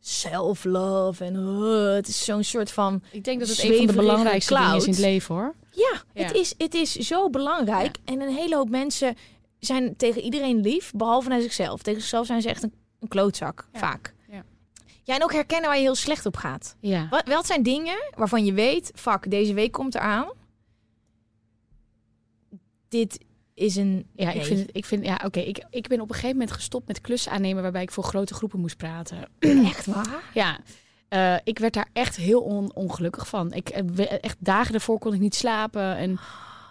Speaker 3: Self-love en eh, het is zo'n soort van...
Speaker 2: Ik denk dat het een van
Speaker 3: Zweverige
Speaker 2: de belangrijkste dingen is in
Speaker 3: cloud.
Speaker 2: het leven hoor.
Speaker 3: Ja,
Speaker 2: Ja.
Speaker 3: Het, is, het is zo belangrijk. En een hele hoop mensen zijn tegen iedereen lief, behalve naar zichzelf. Tegen zichzelf zijn ze echt een, een klootzak,
Speaker 2: Ja.
Speaker 3: vaak.
Speaker 2: Ja.
Speaker 3: ja, en ook herkennen waar je heel slecht op gaat.
Speaker 2: Ja.
Speaker 3: Wat, wat zijn dingen waarvan je weet, fuck, deze week komt eraan. Dit is een...
Speaker 2: Ja, ik
Speaker 3: nee.
Speaker 2: vind, het- ik vind, ja, oké. Ik, ik ben op een gegeven moment gestopt met klussen aannemen waarbij ik voor grote groepen moest praten.
Speaker 3: echt waar.
Speaker 2: Ja. Eh, ik werd daar echt heel on- ongelukkig van. Ik, eh, we- echt dagen ervoor kon ik niet slapen. En,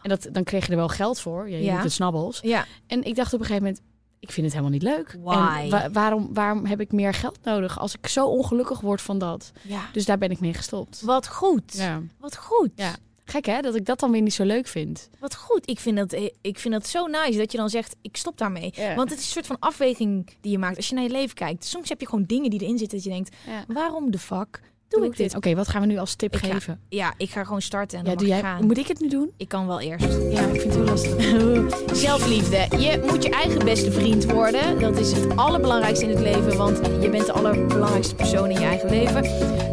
Speaker 2: en dat, dan kreeg je er wel geld voor. Ja, je
Speaker 3: Ja.
Speaker 2: moet het snabbels.
Speaker 3: Ja.
Speaker 2: En ik dacht op een gegeven moment, ik vind het helemaal niet leuk.
Speaker 6: Why?
Speaker 2: En wa- waarom, waarom heb ik meer geld nodig als ik zo ongelukkig word van dat?
Speaker 3: ja.
Speaker 2: Dus daar ben ik mee gestopt.
Speaker 3: Wat goed.
Speaker 2: Ja.
Speaker 3: Wat goed.
Speaker 2: Ja. Gek hè, dat ik dat dan weer niet zo leuk vind.
Speaker 3: Wat goed. Ik vind, dat, eh, ik vind dat zo nice dat je dan zegt, ik stop daarmee.
Speaker 2: Ja.
Speaker 3: Want het is een soort van afweging die je maakt als je naar je leven kijkt. Soms heb je gewoon dingen die erin zitten dat je denkt,
Speaker 2: Ja.
Speaker 3: waarom de fuck doe, ik dit?
Speaker 2: Oké, wat gaan we nu als tip
Speaker 3: Ik ga-
Speaker 2: geven?
Speaker 3: Ja, ik ga gewoon starten en
Speaker 2: Ja,
Speaker 3: dan
Speaker 2: doe
Speaker 3: mag
Speaker 2: jij,
Speaker 3: ik gaan.
Speaker 2: moet ik het nu doen?
Speaker 3: Ik kan wel eerst.
Speaker 2: Ja, ik vind het heel lastig.
Speaker 3: Zelfliefde. Je moet je eigen beste vriend worden. Dat is het allerbelangrijkste in het leven, want je bent de allerbelangrijkste persoon in je eigen leven.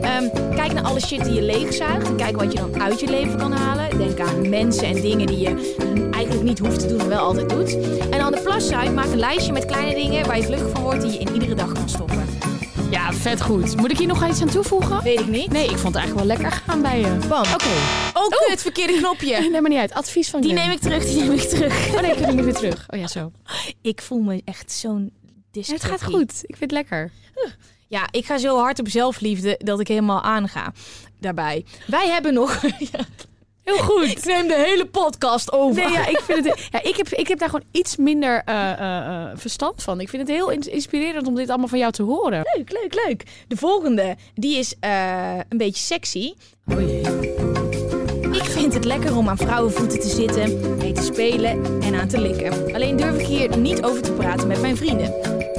Speaker 3: Ehm, kijk naar alle shit die je leegzuigt. En kijk wat je dan uit je leven kan halen. Denk aan mensen en dingen die je eigenlijk niet hoeft te doen, maar wel altijd doet. En aan de plus side, maak een lijstje met kleine dingen waar je gelukkig van wordt die je in iedere dag kan stoppen.
Speaker 2: Ja, vet goed. Moet ik hier nog iets aan toevoegen?
Speaker 3: Weet ik niet.
Speaker 2: Nee, ik vond het eigenlijk wel lekker gaan bij je.
Speaker 3: Bam.
Speaker 2: Oké,
Speaker 3: Oh, het verkeerde knopje.
Speaker 2: neem maar niet uit. Advies van
Speaker 3: Die
Speaker 2: Gwen.
Speaker 3: neem ik terug, die neem ik terug.
Speaker 2: Oh nee, ik heb hem weer terug. Oh ja, zo.
Speaker 3: Ik voel me echt zo'n
Speaker 2: Ja, het gaat
Speaker 3: disc-jockey.
Speaker 2: goed. Ik vind het lekker.
Speaker 3: Ja, ik ga zo hard op zelfliefde dat ik helemaal aanga daarbij. Wij hebben nog... Heel goed. Ik neem de hele podcast over.
Speaker 2: Nee, ja, ik, vind het, ja, ik, heb, ik heb daar gewoon iets minder eh, eh, eh, verstand van. Ik vind het heel ins- inspirerend om dit allemaal van jou te horen.
Speaker 3: Leuk, leuk, leuk. De volgende, die is eh, een beetje sexy. Ik vind het lekker om aan vrouwenvoeten te zitten, mee te spelen en aan te likken. Alleen durf ik hier niet over te praten met mijn vrienden.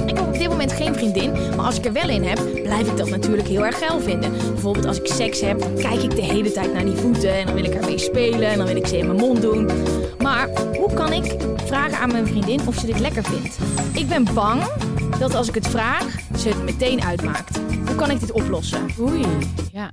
Speaker 3: Ik heb op dit moment geen vriendin, maar als ik er wel in heb, blijf ik dat natuurlijk heel erg geil vinden. Bijvoorbeeld als ik seks heb, dan kijk ik de hele tijd naar die voeten en dan wil ik ermee spelen en dan wil ik ze in mijn mond doen. Maar hoe kan ik vragen aan mijn vriendin of ze dit lekker vindt? Ik ben bang dat als ik het vraag, ze het meteen uitmaakt. Hoe kan ik dit oplossen?
Speaker 2: Oei. Ja. ja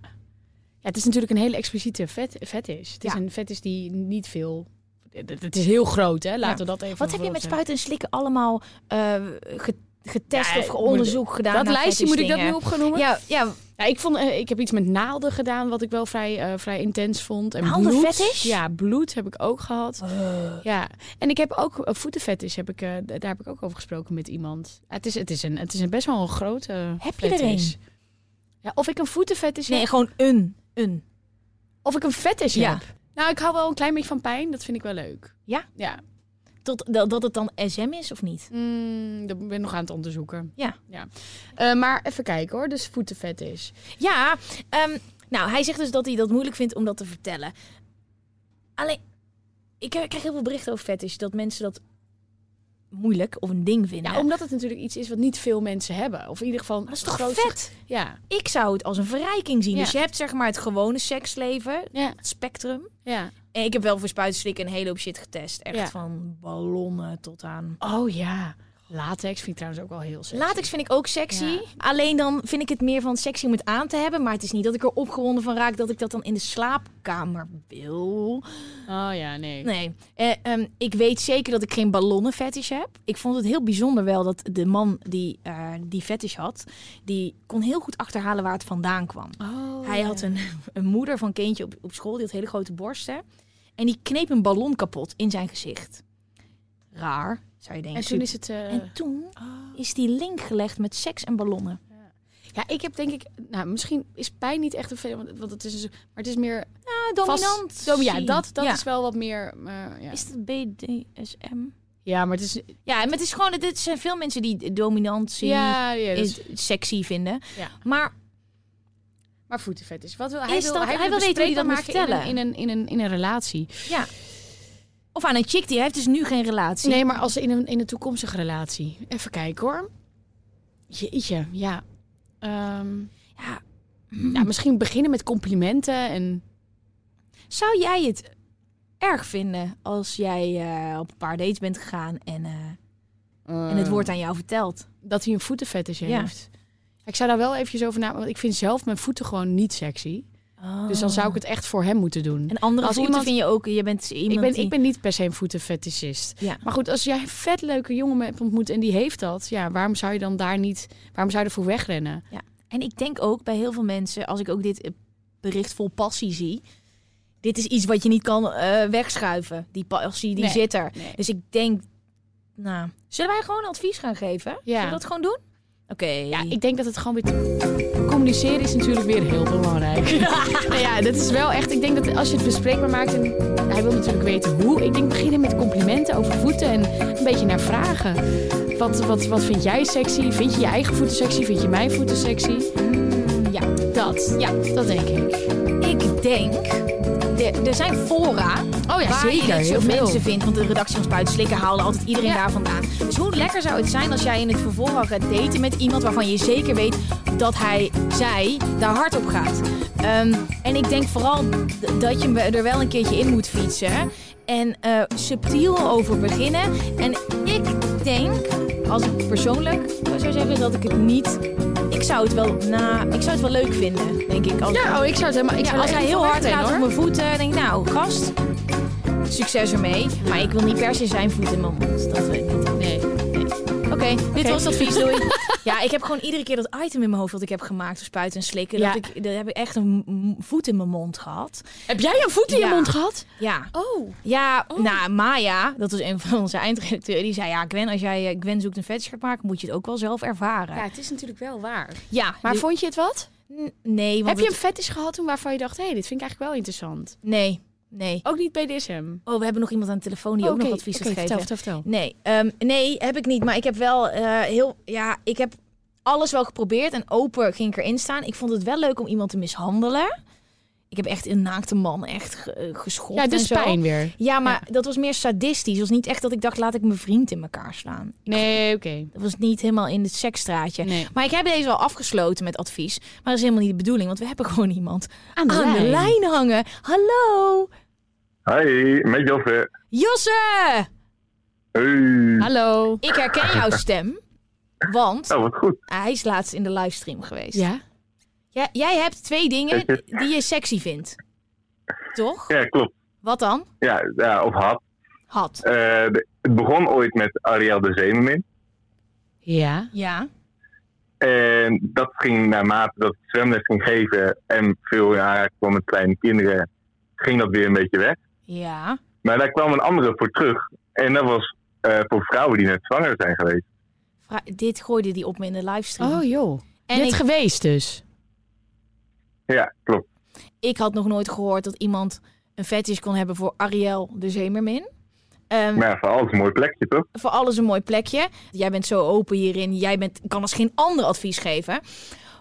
Speaker 2: het is natuurlijk een hele expliciete vet, fetish. Het is
Speaker 3: Ja.
Speaker 2: een fetish die niet veel... Het het is heel groot, hè? Laten we dat even
Speaker 3: Wat heb je
Speaker 2: voorop
Speaker 3: met
Speaker 2: zeggen.
Speaker 3: spuiten en slikken allemaal eh, ge- getest
Speaker 2: Ja,
Speaker 3: of
Speaker 2: moet-
Speaker 3: onderzoek gedaan?
Speaker 2: Dat
Speaker 3: naar
Speaker 2: lijstje moet ik dat nu
Speaker 3: fetishdingen?
Speaker 2: op gaan noemen?
Speaker 3: Ja, ja,
Speaker 2: Ja, ik, vond, eh, ik heb iets met naalden gedaan, wat ik wel vrij, eh, vrij intens vond. En
Speaker 3: Naalden
Speaker 2: bloed.
Speaker 3: fetish? Eh.
Speaker 2: Ja, bloed heb ik ook gehad. Ja, en ik heb ook eh, voetenfetish, heb ik, eh, d- daar heb ik ook over gesproken met iemand. Ja, het, is, het, is een, het is een best wel een grote
Speaker 3: Heb je er
Speaker 2: fetish. Ja, of ik een voetenfetish
Speaker 3: nee,
Speaker 2: heb,
Speaker 3: gewoon een. Een.
Speaker 2: of ik een fetish
Speaker 3: Ja.
Speaker 2: heb. Nou, ik hou wel een klein beetje van pijn, dat vind ik wel leuk.
Speaker 3: Ja?
Speaker 2: Ja,
Speaker 3: Tot, dat, dat het dan SM is of niet?
Speaker 2: Mm, dat ben ik nog aan het onderzoeken.
Speaker 3: Ja.
Speaker 2: ja. Eh, maar even kijken hoor, dus voetenfetish.
Speaker 3: Ja, ehm, nou, hij zegt dus dat hij dat moeilijk vindt om dat te vertellen. Alleen, ik eh, krijg heel veel berichten over fetish, dat mensen dat moeilijk of een ding vinden.
Speaker 2: Ja, omdat het natuurlijk iets is wat niet veel mensen hebben. Of in ieder geval...
Speaker 3: Maar dat is toch
Speaker 2: groot-
Speaker 3: vet?
Speaker 2: Ja,
Speaker 3: Ik zou het als een verrijking zien.
Speaker 2: Ja.
Speaker 3: Dus je hebt zeg maar het gewone seksleven,
Speaker 2: ja,
Speaker 3: het spectrum.
Speaker 2: ja.
Speaker 3: En ik heb wel voor spuitenslikken een hele hoop shit getest. Echt
Speaker 2: Ja.
Speaker 3: van ballonnen tot aan...
Speaker 2: Oh ja. Latex vind ik trouwens ook wel heel sexy.
Speaker 3: Latex vind ik ook sexy.
Speaker 2: Ja.
Speaker 3: Alleen dan vind ik het meer van sexy om het aan te hebben. Maar het is niet dat ik er opgewonden van raak dat ik dat dan in de slaapkamer wil.
Speaker 2: Oh ja, nee.
Speaker 3: Nee. Eh, ehm, ik weet zeker dat ik geen ballonnenfetish heb. Ik vond het heel bijzonder wel dat de man die eh, die fetish had... die kon heel goed achterhalen waar het vandaan kwam.
Speaker 2: Oh,
Speaker 3: Hij had een, een moeder van kindje op, op school, die had hele grote borsten. En die kneep een ballon kapot in zijn gezicht. Raar, zou je denken.
Speaker 2: En toen is het... eh,
Speaker 3: En toen is die link gelegd met seks en ballonnen.
Speaker 2: Ja, ik heb denk ik... Nou, misschien is pijn niet echt een veel... Want, want het is een zo- maar het is meer...
Speaker 3: Ah,
Speaker 2: vast-
Speaker 3: dominant.
Speaker 2: Dom- ja, dat, dat
Speaker 3: Ja.
Speaker 2: is wel wat meer... eh, ja.
Speaker 3: Is het BDSM?
Speaker 2: ja, maar het is...
Speaker 3: Ja, maar het is gewoon, dit zijn veel mensen die dominantie
Speaker 2: Ja, ja dat is,
Speaker 3: is, sexy vinden.
Speaker 2: Ja.
Speaker 3: Maar
Speaker 2: maar voetenvet is. Wat wil, hij,
Speaker 3: Is
Speaker 2: wil,
Speaker 3: dat- hij
Speaker 2: wil
Speaker 3: wil weten hoe hij dat
Speaker 2: bespreekbaar
Speaker 3: moet
Speaker 2: maken in een-
Speaker 3: vertellen.
Speaker 2: In een, in, een, in, een, relatie.
Speaker 3: ja. Of aan een chick die heeft dus nu geen relatie.
Speaker 2: Nee, maar als in een, in een toekomstige relatie. Even kijken hoor. Jeetje, ja. Ehm,
Speaker 3: Ja.
Speaker 2: ja. Misschien beginnen met complimenten en...
Speaker 3: Zou jij het erg vinden als jij eh, op een paar dates bent gegaan en, eh, en
Speaker 2: Ehm.
Speaker 3: het wordt aan jou verteld?
Speaker 2: dat hij een voetenfetish
Speaker 3: Ja.
Speaker 2: heeft. Ik zou daar wel eventjes over na, want ik vind zelf mijn voeten gewoon niet sexy. Dus dan zou ik het echt voor hem moeten doen.
Speaker 3: En andere
Speaker 2: Als
Speaker 3: voeten
Speaker 2: iemand-
Speaker 3: vind je ook, je bent iemand
Speaker 2: Ik ben,
Speaker 3: die...
Speaker 2: ik ben niet per se een voetenfetischist.
Speaker 3: Ja.
Speaker 2: Maar goed, als jij een vet leuke jongen hebt ontmoet en die heeft dat, ja, waarom zou je dan daar niet, waarom zou je ervoor wegrennen?
Speaker 3: Ja. En ik denk ook bij heel veel mensen, als ik ook dit eh, bericht vol passie zie... Dit is iets wat je niet kan eh, wegschuiven. Die passie, die
Speaker 2: Nee,
Speaker 3: zit er.
Speaker 2: nee.
Speaker 3: Dus ik denk, nou... Zullen wij gewoon advies gaan geven?
Speaker 2: Ja.
Speaker 3: Zullen we dat gewoon doen? Oké.
Speaker 2: Ja, ik denk dat het gewoon weer te- kom communiceren is natuurlijk weer heel belangrijk. nou ja, dat is wel echt. Ik denk dat als je het bespreekbaar maakt. En hij wil natuurlijk weten hoe. Ik denk beginnen met complimenten over voeten. En een beetje naar vragen. Wat, wat, wat vind jij sexy? Vind je je eigen voeten sexy? Vind je mijn voeten sexy?
Speaker 3: Ja,
Speaker 2: Dat. Ja, dat denk ik.
Speaker 3: ik denk... Er- Er zijn fora
Speaker 2: Oh ja,
Speaker 3: waar je
Speaker 2: zeker.
Speaker 3: dit
Speaker 2: Heel
Speaker 3: soort
Speaker 2: veel.
Speaker 3: mensen vindt. Want de redactie van Spuit Slikken halen altijd iedereen
Speaker 2: Ja.
Speaker 3: daar vandaan. Dus hoe lekker zou het zijn als jij in het vervolg gaat daten met iemand waarvan je zeker weet dat hij, zij, daar hard op gaat. Ehm, en ik denk vooral d- dat je er wel een keertje in moet fietsen. En eh, subtiel over beginnen. En ik denk, als ik persoonlijk zou zeggen, dat ik het niet... Ik zou het wel, nou, ik zou het wel leuk vinden, denk ik. Als
Speaker 2: Ja, oh, ik zou het helemaal. Ik
Speaker 3: ja,
Speaker 2: zou
Speaker 3: als
Speaker 2: er
Speaker 3: hij
Speaker 2: echt
Speaker 3: heel
Speaker 2: van
Speaker 3: hard
Speaker 2: wegrennen,
Speaker 3: gaat op
Speaker 2: hoor.
Speaker 3: mijn voeten, dan denk ik, nou, gast, succes ermee. Maar ik wil niet per se zijn voet in mijn mond. Dat weet ik niet.
Speaker 2: Nee.
Speaker 3: Oké, dit was het advies, doei. ja, ik heb gewoon iedere keer dat item in mijn hoofd dat ik heb gemaakt, voor spuiten en slikken,
Speaker 2: Ja.
Speaker 3: dat, ik, dat heb ik echt een m- voet in mijn mond gehad.
Speaker 2: Heb jij een voet in je
Speaker 3: Ja.
Speaker 2: mond gehad?
Speaker 3: Ja.
Speaker 2: Oh.
Speaker 3: Ja, nou, Maya, dat was een van onze eindredacteuren, die zei, ja, Gwen, als jij eh, Gwen zoekt een fetish gaat maken, moet je het ook wel zelf ervaren.
Speaker 2: Ja,
Speaker 3: Ja,
Speaker 2: het is natuurlijk wel waar. Maar
Speaker 3: maar
Speaker 2: vond je het wat?
Speaker 3: nee, want
Speaker 2: Heb je een
Speaker 3: het-
Speaker 2: fetish gehad toen waarvan je dacht, hé, hey, dit vind ik eigenlijk wel interessant?
Speaker 3: nee, nee.
Speaker 2: Ook niet BDSM?
Speaker 3: Oh, we hebben nog iemand aan de telefoon die
Speaker 2: Oh,
Speaker 3: ook nog
Speaker 2: oké,
Speaker 3: advies
Speaker 2: oké,
Speaker 3: gaat geven.
Speaker 2: vertel, vertel, vertel.
Speaker 3: Nee, ehm, nee, heb ik niet. Maar ik heb wel eh, heel, ja, ik heb alles wel geprobeerd en open ging ik erin staan. Ik vond het wel leuk om iemand te mishandelen. Ik heb echt een naakte man echt ge- eh, geschopt.
Speaker 2: Ja, dus
Speaker 3: en zo.
Speaker 2: pijn weer.
Speaker 3: Ja, maar dat was meer sadistisch. Het was niet echt dat ik dacht, laat ik mijn vriend in elkaar slaan.
Speaker 2: Nee, oké.
Speaker 3: Dat was niet helemaal in het seksstraatje.
Speaker 2: Nee.
Speaker 3: Maar ik heb deze al afgesloten met advies. Maar dat is helemaal niet de bedoeling, want we hebben gewoon iemand
Speaker 2: Aan de
Speaker 3: aan de
Speaker 2: lijn.
Speaker 3: lijn hangen. Hallo,
Speaker 7: Hi, met Josse.
Speaker 3: Josse!
Speaker 7: Hey.
Speaker 2: Hallo.
Speaker 3: Ik herken jouw stem, want
Speaker 7: Nou, wat goed.
Speaker 3: hij is laatst in de livestream geweest.
Speaker 2: Ja?
Speaker 3: Jij, jij hebt twee dingen die je sexy vindt. Toch?
Speaker 7: Ja, klopt.
Speaker 3: Wat dan?
Speaker 7: Ja, ja of had.
Speaker 3: Had.
Speaker 7: Eh, de- het begon ooit met Ariel de Zemermin.
Speaker 2: Ja.
Speaker 3: Ja.
Speaker 7: En dat ging naarmate dat ik zwemles ging geven en veel in aanraking kwam met kleine kinderen, ging dat weer een beetje weg.
Speaker 3: Ja.
Speaker 7: Maar daar kwam een andere voor terug. En dat was eh, voor vrouwen die net zwanger zijn geweest.
Speaker 3: Vra- dit gooide die op me in de livestream.
Speaker 2: Oh joh.
Speaker 3: en
Speaker 2: Net
Speaker 3: ik,
Speaker 2: geweest dus.
Speaker 7: Ja, klopt.
Speaker 3: ik had nog nooit gehoord dat iemand een fetish kon hebben voor Ariel de Zemermin. Ehm,
Speaker 7: Maar ja, voor alles een mooi plekje, toch?
Speaker 3: voor alles een mooi plekje. Jij bent zo open hierin. Jij bent, kan als geen ander advies geven.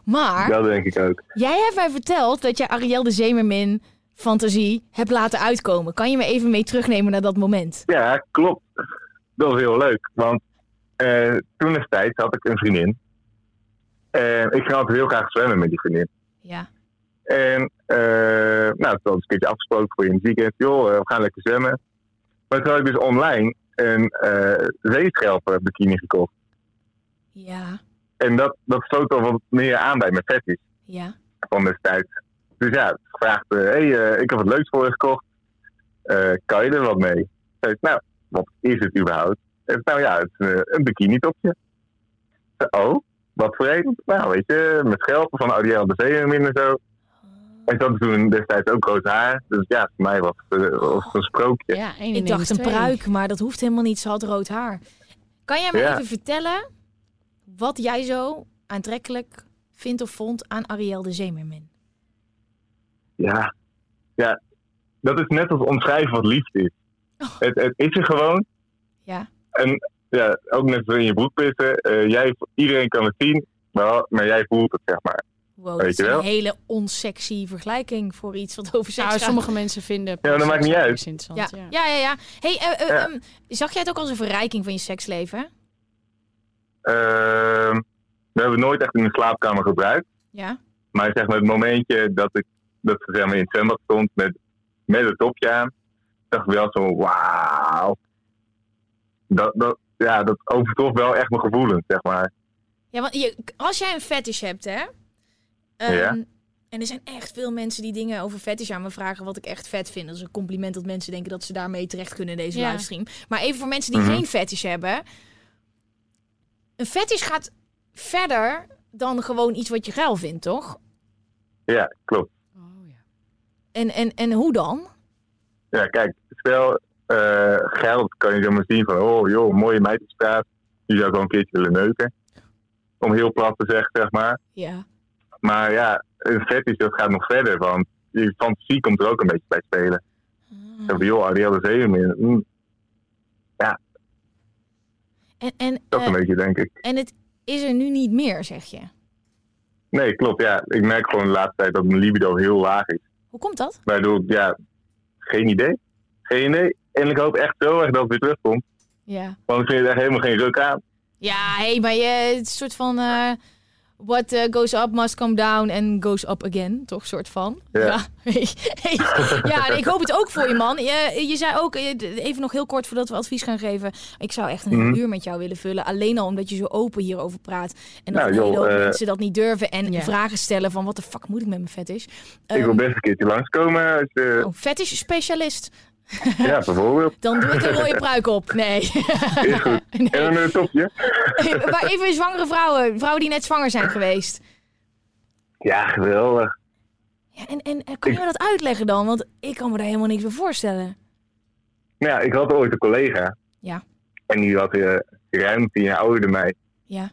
Speaker 3: Maar
Speaker 7: Dat denk ik ook.
Speaker 3: jij hebt mij verteld dat je Ariel de Zemermin fantasie hebt laten uitkomen. Kan je me even mee terugnemen naar dat moment?
Speaker 7: Ja, klopt. Dat was heel leuk. Want eh toen destijds had ik een vriendin. En ik ging altijd heel graag zwemmen met die vriendin.
Speaker 3: Ja.
Speaker 7: En eh nou, toen hadden we een keertje afgesproken voor in het weekend. Joh, eh, we gaan lekker zwemmen. Maar toen had ik dus online een eh zeeschelper bikini gekocht.
Speaker 3: Ja.
Speaker 7: En dat, dat sloot al wat meer aan bij mijn vetties
Speaker 3: Ja.
Speaker 7: van destijds. Dus ja, gevraagd, eh, hey, eh, ik heb wat leuks voor je gekocht. Eh, kan je er wat mee? Zei ik, nou, wat is het überhaupt? Eh, nou ja, het is eh, een bikini topje. oh, wat voor een? Nou, weet je, met schelpen van Ariel de Zeemermin en zo. En dat toen destijds ook rood haar. Dus ja, voor mij was, het, eh, was het een sprookje.
Speaker 2: Ja, één in
Speaker 3: Ik
Speaker 2: één is
Speaker 3: dacht een
Speaker 2: twee.
Speaker 3: pruik, maar dat hoeft helemaal niet. Ze had rood haar. Kan jij me
Speaker 7: Ja.
Speaker 3: even vertellen wat jij zo aantrekkelijk vindt of vond aan Ariel de Zemermin?
Speaker 7: Ja. ja, dat is net als omschrijven wat liefde is. Het, het is er gewoon.
Speaker 3: Ja.
Speaker 7: En ja, ook net als in je broek pitten. eh, jij, iedereen kan het zien, maar, maar jij voelt het, zeg maar.
Speaker 3: Wow,
Speaker 7: Weet
Speaker 3: dat is
Speaker 7: je wel?
Speaker 3: een hele onsexy vergelijking voor iets wat over seks
Speaker 2: Nou,
Speaker 3: gaat.
Speaker 2: sommige mensen vinden...
Speaker 7: Ja, dat maakt niet
Speaker 2: seks
Speaker 7: uit.
Speaker 2: is
Speaker 3: Ja,
Speaker 2: Interessant, ja.
Speaker 3: ja, ja. ja. Hey, eh, eh,
Speaker 7: Ja.
Speaker 3: ehm, zag jij het ook als een verrijking van je seksleven?
Speaker 7: Ehm, we hebben het nooit echt in de slaapkamer gebruikt.
Speaker 3: Ja.
Speaker 7: Maar zeg maar, het momentje dat ik dat ze zeg maar, in het zwembad stond met, met het topje aan, dacht ik wel zo, wauw. Dat, dat, ja, dat overtrof wel echt mijn gevoelens, zeg maar.
Speaker 3: Ja, want je, als jij een fetish hebt, hè? ehm,
Speaker 7: Ja.
Speaker 3: En er zijn echt veel mensen die dingen over fetish aan me vragen wat ik echt vet vind. Dat is een compliment dat mensen denken dat ze daarmee terecht kunnen in deze
Speaker 2: Ja.
Speaker 3: livestream. Maar even voor mensen die
Speaker 7: Mhm.
Speaker 3: geen fetish hebben. Een fetish gaat verder dan gewoon iets wat je geil vindt, toch?
Speaker 7: Ja, klopt.
Speaker 2: Oh, ja.
Speaker 3: En, en, en hoe dan?
Speaker 7: Ja, kijk, stel eh, geld kan je dan maar zien van, oh joh, mooie meidjespraat. Die zou ik wel een keertje willen neuken. Om heel plat te zeggen, zeg maar.
Speaker 3: Ja.
Speaker 7: Maar ja, een fetish dat gaat nog verder, want je fantasie komt er ook een beetje bij spelen. Zo van, joh, Ariel de Zeemermin. mm,
Speaker 3: En, en,
Speaker 7: dat
Speaker 3: eh,
Speaker 7: een beetje, denk ik.
Speaker 3: en het is er nu niet meer, zeg je.
Speaker 7: Nee, klopt, ja. Ik merk gewoon de laatste tijd dat mijn libido heel laag is.
Speaker 3: Hoe komt dat?
Speaker 7: Waardoor ik, ja, geen idee. Geen idee. En ik hoop echt zo erg dat het weer terugkomt.
Speaker 3: Ja,
Speaker 7: Want ik vind het echt helemaal geen ruk aan.
Speaker 3: ja hé, maar je, het is een soort van... eh, what eh, goes up must come down and goes up again, toch? soort van.
Speaker 7: Ja.
Speaker 3: ja, ik hoop het ook voor je, man. Je, je zei ook, eh, d- even nog heel kort voordat we advies gaan geven... Ik zou echt een heel
Speaker 7: Mhm.
Speaker 3: uur met jou willen vullen. Alleen al omdat je zo open hierover praat. En dat
Speaker 7: Nou,
Speaker 3: een hele
Speaker 7: joh,
Speaker 3: hoop
Speaker 7: eh,
Speaker 3: mensen dat niet durven. En
Speaker 2: Ja.
Speaker 3: vragen stellen van, wat de fuck moet ik met mijn fetish?
Speaker 7: Ik wil
Speaker 3: Ehm,
Speaker 7: best een keertje langskomen. Als, je-
Speaker 3: oh, fetish specialist.
Speaker 7: Ja, bijvoorbeeld.
Speaker 3: Dan doe ik een rode pruik op. Nee.
Speaker 7: Is goed. En een eh, topje.
Speaker 3: maar even zwangere vrouwen. Vrouwen die net zwanger zijn geweest.
Speaker 7: Ja, geweldig.
Speaker 3: Ja, en, en eh, kun je me dat uitleggen dan? Want ik kan me daar helemaal niks bij voorstellen.
Speaker 7: Nou ja, ik had ooit een collega.
Speaker 3: Ja.
Speaker 7: En die had eh, ruim tien jaar ouder dan mij.
Speaker 3: Ja.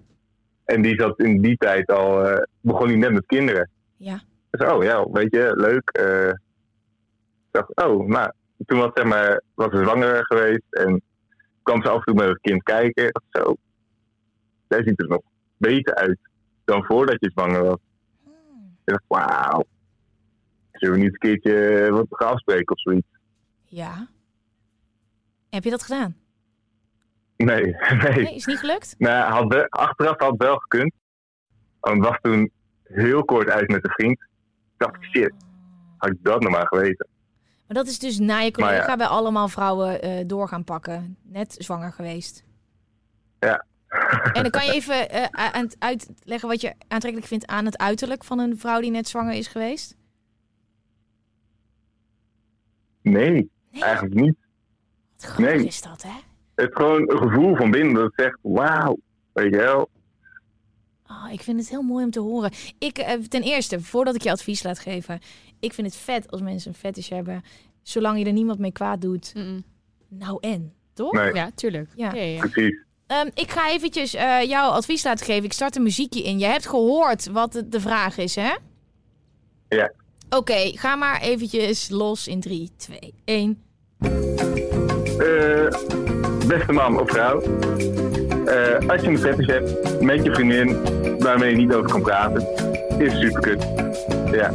Speaker 7: En die zat in die tijd al, eh, begon hij net met kinderen.
Speaker 3: Ja.
Speaker 7: Dus oh ja, weet je, leuk. eh. Ik dacht, oh, nou, toen was, zeg maar, was ze zwanger geweest en kwam ze af en toe met het kind kijken. Ik dacht, Zo, zij ziet er nog beter uit dan voordat je zwanger was. Ik dacht, wauw. Zullen we niet een keertje eh, wat gaan afspreken of zoiets?
Speaker 3: Ja. Heb je dat gedaan?
Speaker 7: Nee, nee.
Speaker 3: Nee, is niet gelukt?
Speaker 7: Nou, ja, had wel- achteraf had wel gekund. Want het was toen heel kort uit met een vriend. Ik dacht,
Speaker 3: Oh.
Speaker 7: shit, had ik dat nog maar geweten.
Speaker 3: Maar dat is dus na je
Speaker 7: Maar ja.
Speaker 3: collega bij allemaal vrouwen eh, door gaan pakken. Net zwanger geweest.
Speaker 7: Ja.
Speaker 3: En dan kan je even eh, a- aan het uitleggen wat je aantrekkelijk vindt aan het uiterlijk van een vrouw die net zwanger is geweest?
Speaker 7: Nee,
Speaker 3: Nee,
Speaker 7: eigenlijk niet.
Speaker 3: wat grappig
Speaker 7: nee.
Speaker 3: is dat, hè?
Speaker 7: Het is gewoon een gevoel van binnen dat zegt, wauw, weet je wel.
Speaker 3: Oh, ik vind het heel mooi om te horen. Ik, eh, ten eerste, voordat ik je advies laat geven. Ik vind het vet als mensen een fetish hebben. Zolang je er niemand mee kwaad doet.
Speaker 2: Mm-mm.
Speaker 3: Nou en, toch?
Speaker 7: Nee,
Speaker 2: Ja, tuurlijk.
Speaker 3: Ja.
Speaker 2: Ja. Ja, ja.
Speaker 7: precies.
Speaker 3: Ehm, ik ga eventjes eh, jouw advies laten geven. Ik start een muziekje in. Je hebt gehoord wat de- de vraag is, hè?
Speaker 7: Ja.
Speaker 3: Oké, ga maar eventjes los in 3, 2, 1.
Speaker 7: Eh, beste man of vrouw. eh, als je een fetish hebt met je vriendin waarmee je niet over kan praten, is superkut. Ja.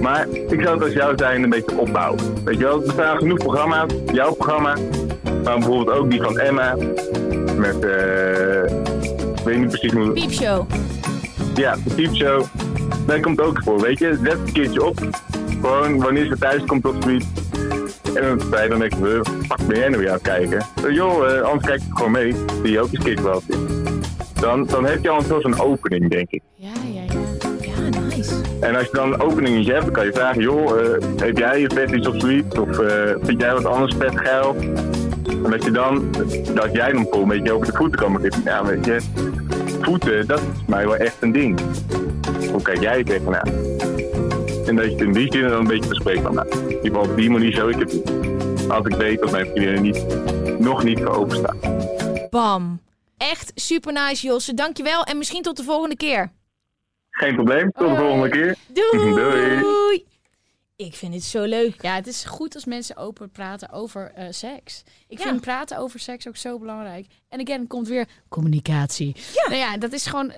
Speaker 7: Maar ik zou het als jou zijn een beetje opbouwen. Weet je wel, er bestaan genoeg programma's, jouw programma, maar bijvoorbeeld ook die van Emma. Met, eh. ik weet niet precies hoe.
Speaker 3: Piepshow.
Speaker 7: Ja, de piepshow. Daar komt ook voor, weet je. Zet een keertje op. Gewoon wanneer ze thuis komt op zoiets. En dan sta je dan denk ik, "Huh, fuck ben jij nou weer aan het kijken? Eh, joh, eh, anders kijk ik gewoon mee. Zie je ook eens keer wat Dan, dan heb je al een soort van opening, denk ik.
Speaker 2: ja, ja,
Speaker 3: Ja, nice.
Speaker 7: En als je dan een opening hebt, dan kan je vragen, joh, eh, heb jij je vet iets of zoiets? Of eh, vind jij wat anders vet geil? En dat je dan, dat jij dan vol een beetje over de voeten kan beginnen. Ja, weet je, voeten, dat is mij wel echt een ding. Hoe kijk jij tegenaan? En dat je het in die zin dan een beetje bespreekt van, nou, in ieder geval op die manier zou ik het doen. Als ik weet dat mijn vriendin er niet, nog niet voor openstaat.
Speaker 3: Bam. Echt super nice, Josse. Dankjewel en misschien tot de volgende keer.
Speaker 7: Geen probleem, tot de volgende keer.
Speaker 3: Doei.
Speaker 7: Doei.
Speaker 3: Ik vind het zo leuk.
Speaker 2: Ja, het is goed als mensen open praten over eh, seks. Ik
Speaker 3: Ja.
Speaker 2: vind praten over seks ook zo belangrijk. En again, komt weer communicatie. Nou ja, dat is gewoon...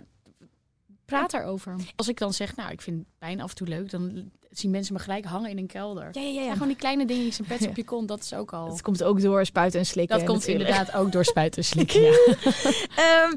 Speaker 2: Praat daarover. Als ik dan zeg, nou, ik vind pijn af en toe leuk... dan zien mensen me gelijk hangen in een kelder.
Speaker 3: Ja, ja, ja.
Speaker 2: Ja,
Speaker 3: ja.
Speaker 2: gewoon die kleine dingetjes, een pet op je kont, dat is ook al...
Speaker 3: Dat komt ook door spuiten en slikken.
Speaker 2: Dat komt
Speaker 3: natuurlijk.
Speaker 2: inderdaad ook door spuiten en slikken. ja.
Speaker 3: Ehm,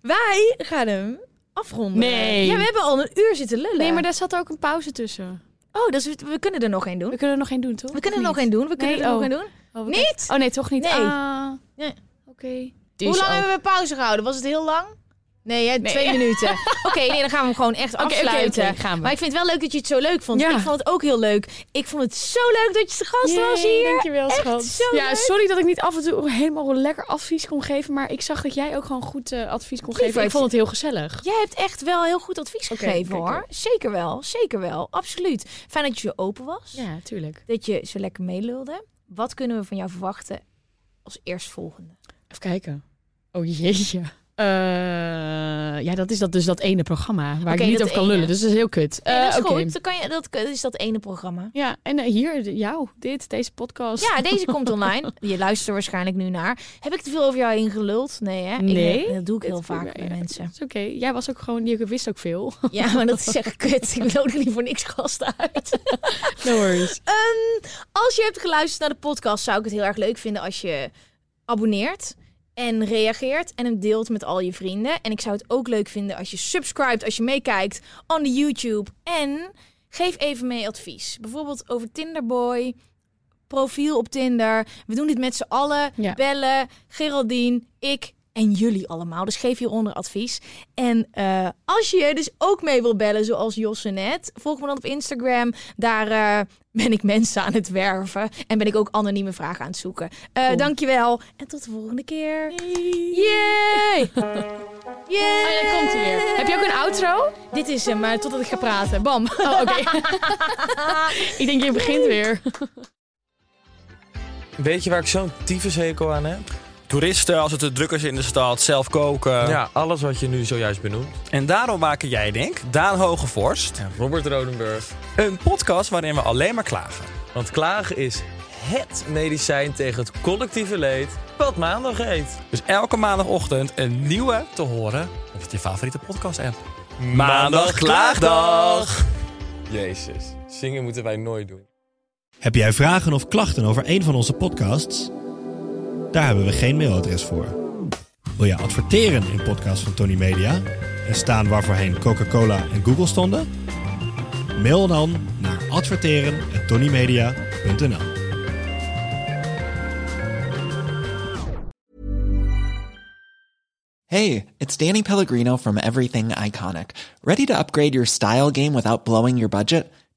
Speaker 3: wij gaan hem afronden.
Speaker 2: Nee.
Speaker 3: Ja, we hebben al een uur zitten lullen.
Speaker 2: Nee, maar daar zat ook een pauze tussen.
Speaker 3: Oh, dus we, we kunnen er nog één doen.
Speaker 2: We kunnen er nog één doen, toch?
Speaker 3: We kunnen
Speaker 2: Of
Speaker 3: er nog
Speaker 2: niet?
Speaker 3: één doen. We kunnen
Speaker 2: Nee,
Speaker 3: er nog
Speaker 2: oh.
Speaker 3: één doen.
Speaker 2: Oh, we-
Speaker 3: Niet?
Speaker 2: Oh nee, toch niet?
Speaker 3: Nee.
Speaker 2: Ah, Dus
Speaker 3: Nee.
Speaker 2: Oké.
Speaker 3: Hoe lang hebben we pauze gehouden? Was het heel lang? Oh. Nee, hè, twee minuten. Oké, nee, dan gaan we hem gewoon echt
Speaker 2: oké,
Speaker 3: afsluiten.
Speaker 2: oké, gaan we.
Speaker 3: Maar ik vind het wel leuk dat je het zo leuk vond.
Speaker 2: Ja.
Speaker 3: Ik vond het ook heel leuk. Ik vond het zo leuk dat je te gast was
Speaker 2: Yay,
Speaker 3: hier.
Speaker 2: Dankjewel,
Speaker 3: Echt
Speaker 2: schat.
Speaker 3: zo
Speaker 2: ja,
Speaker 3: leuk.
Speaker 2: sorry dat ik niet af en toe helemaal lekker advies kon geven, maar ik zag dat jij ook gewoon goed eh, advies kon geven.
Speaker 3: Lieverd.
Speaker 2: Ik vond het heel gezellig.
Speaker 3: Jij hebt echt wel heel goed advies
Speaker 2: Oké,
Speaker 3: gegeven
Speaker 2: oké,
Speaker 3: hoor. Zeker wel, zeker wel. Absoluut. Fijn dat je zo open was.
Speaker 2: Ja, tuurlijk.
Speaker 3: Dat je zo lekker meelulde. Wat kunnen we van jou verwachten als eerstvolgende?
Speaker 2: Even kijken. Oh jeetje. Eh, ja, dat is dat, dus dat ene programma waar
Speaker 3: Oké,
Speaker 2: ik niet
Speaker 3: dat
Speaker 2: over kan
Speaker 3: ene.
Speaker 2: lullen. Dus dat is heel kut.
Speaker 3: Ja,
Speaker 2: Eh,
Speaker 3: dat is
Speaker 2: oké.
Speaker 3: goed. Dan kan je, dat dat is dat ene programma.
Speaker 2: Ja, en eh, hier, de- jou, dit, deze podcast.
Speaker 3: Ja, deze komt online. Je luistert er waarschijnlijk nu naar. Heb ik te veel over jou heen geluld? Nee, hè? Ik-
Speaker 2: Nee.
Speaker 3: dat doe ik
Speaker 2: Dit
Speaker 3: heel
Speaker 2: is prima,
Speaker 3: vaak bij
Speaker 2: ja.
Speaker 3: mensen.
Speaker 2: Dat is oké. Jij was ook gewoon, je wist ook veel.
Speaker 3: Ja, maar dat is echt kut. Ik nodig niet voor niks gasten uit.
Speaker 2: No worries.
Speaker 3: Ehm, als je hebt geluisterd naar de podcast, zou ik het heel erg leuk vinden als je abonneert en reageert en hem deelt met al je vrienden. En ik zou het ook leuk vinden als je subscribt, als je meekijkt on de YouTube. En geef even mee advies. Bijvoorbeeld over Tinderboy, profiel op Tinder. We doen dit met z'n allen.
Speaker 2: Ja.
Speaker 3: Bellen, Geraldine, ik en jullie allemaal. Dus geef hieronder advies. En eh, als je dus ook mee wil bellen, zoals Josse net, volg me dan op Instagram. Daar eh, ben ik mensen aan het werven. En ben ik ook anonieme vragen aan het zoeken. Eh, Dankjewel. En tot de volgende keer. Yay! Yay!
Speaker 2: Oh, ja, komt weer. Heb je ook een outro?
Speaker 3: Dit is hem, maar totdat ik ga praten. Bam.
Speaker 2: Oh, oké. ik denk, je begint weer.
Speaker 8: Weet je waar ik zo'n tyfushekel aan heb?
Speaker 9: Toeristen, als het te druk is in de stad, zelf koken.
Speaker 8: Ja, alles wat je nu zojuist benoemt.
Speaker 9: En daarom maken jij, denk ik, Daan Hogevorst,
Speaker 8: Robert Rodenburg.
Speaker 9: een podcast waarin we alleen maar klagen.
Speaker 8: Want klagen is HET medicijn tegen het collectieve leed wat maandag heet.
Speaker 9: Dus elke maandagochtend een nieuwe te horen op je favoriete podcast-app.
Speaker 8: Jezus, zingen moeten wij nooit doen.
Speaker 10: Heb jij vragen of klachten over een van onze podcasts? Daar hebben we geen mailadres voor. Wil jij adverteren in podcasts van Tony Media en staan waarvoorheen Coca-Cola en Google stonden? Mail dan naar adverteren@tonymedia.nl.
Speaker 11: Hey, it's Danny Pellegrino from Everything Iconic. Ready to upgrade your style game without blowing your budget?